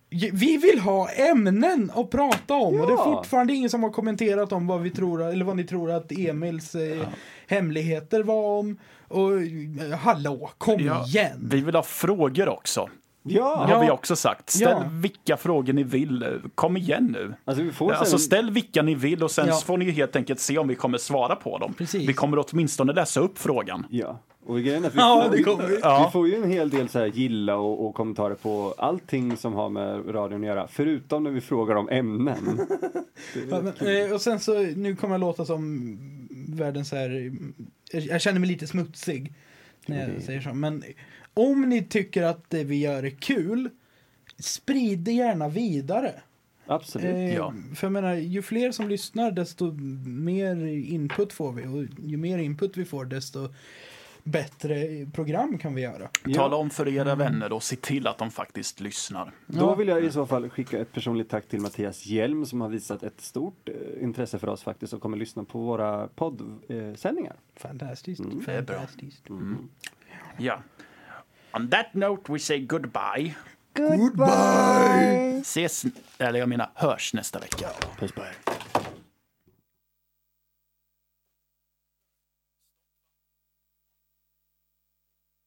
Speaker 6: vi vill ha ämnen att prata om och det är
Speaker 5: Ja.
Speaker 6: fortfarande ingen som har kommenterat om vad vi tror, eller vad ni tror att Emils eh, hemligheter var om. Och eh, hallå, kom
Speaker 3: Ja.
Speaker 6: igen!
Speaker 3: vi vill ha frågor också.
Speaker 5: Ja!
Speaker 3: Det
Speaker 6: Ja.
Speaker 3: har vi också sagt. Ställ
Speaker 6: Ja.
Speaker 3: vilka frågor ni vill. Kom igen nu.
Speaker 5: Alltså vi får
Speaker 3: Alltså
Speaker 5: sen...
Speaker 3: ställ vilka ni vill och sen
Speaker 6: Ja.
Speaker 3: så får ni helt enkelt se om vi kommer svara på dem.
Speaker 6: Precis.
Speaker 3: Vi kommer åtminstone läsa upp frågan.
Speaker 5: Ja, och grejen är att vi,
Speaker 6: Ja,
Speaker 5: får,
Speaker 6: det kommer vi.
Speaker 3: Ja.
Speaker 5: vi får ju en hel del så här gilla och, och kommentarer på allting som har med radion att göra, förutom när vi frågar om ämnen.
Speaker 6: *laughs* Ja, men, eh, och sen så, nu kommer jag låta som världens så här, eh, jag känner mig lite smutsig när jag säger så, men om ni tycker att det vi gör är kul, sprid det gärna vidare.
Speaker 5: Absolut.
Speaker 6: Eh,
Speaker 3: Ja.
Speaker 6: För jag menar, ju fler som lyssnar desto mer input får vi och ju mer input vi får desto bättre program kan vi göra.
Speaker 5: Ja.
Speaker 3: Tala om för era vänner och se till att de faktiskt lyssnar.
Speaker 5: Då vill jag i så fall skicka ett personligt tack till Mattias Hjelm som har visat ett stort eh, intresse för oss faktiskt och kommer lyssna på våra eh, poddsändningar.
Speaker 6: Fantastiskt,
Speaker 3: Mm. det är bra.
Speaker 6: fantastiskt.
Speaker 3: Ja. On that note we say goodbye.
Speaker 5: Goodbye!
Speaker 3: Ses, eller jag menar hörs nästa vecka.
Speaker 5: Puss på er.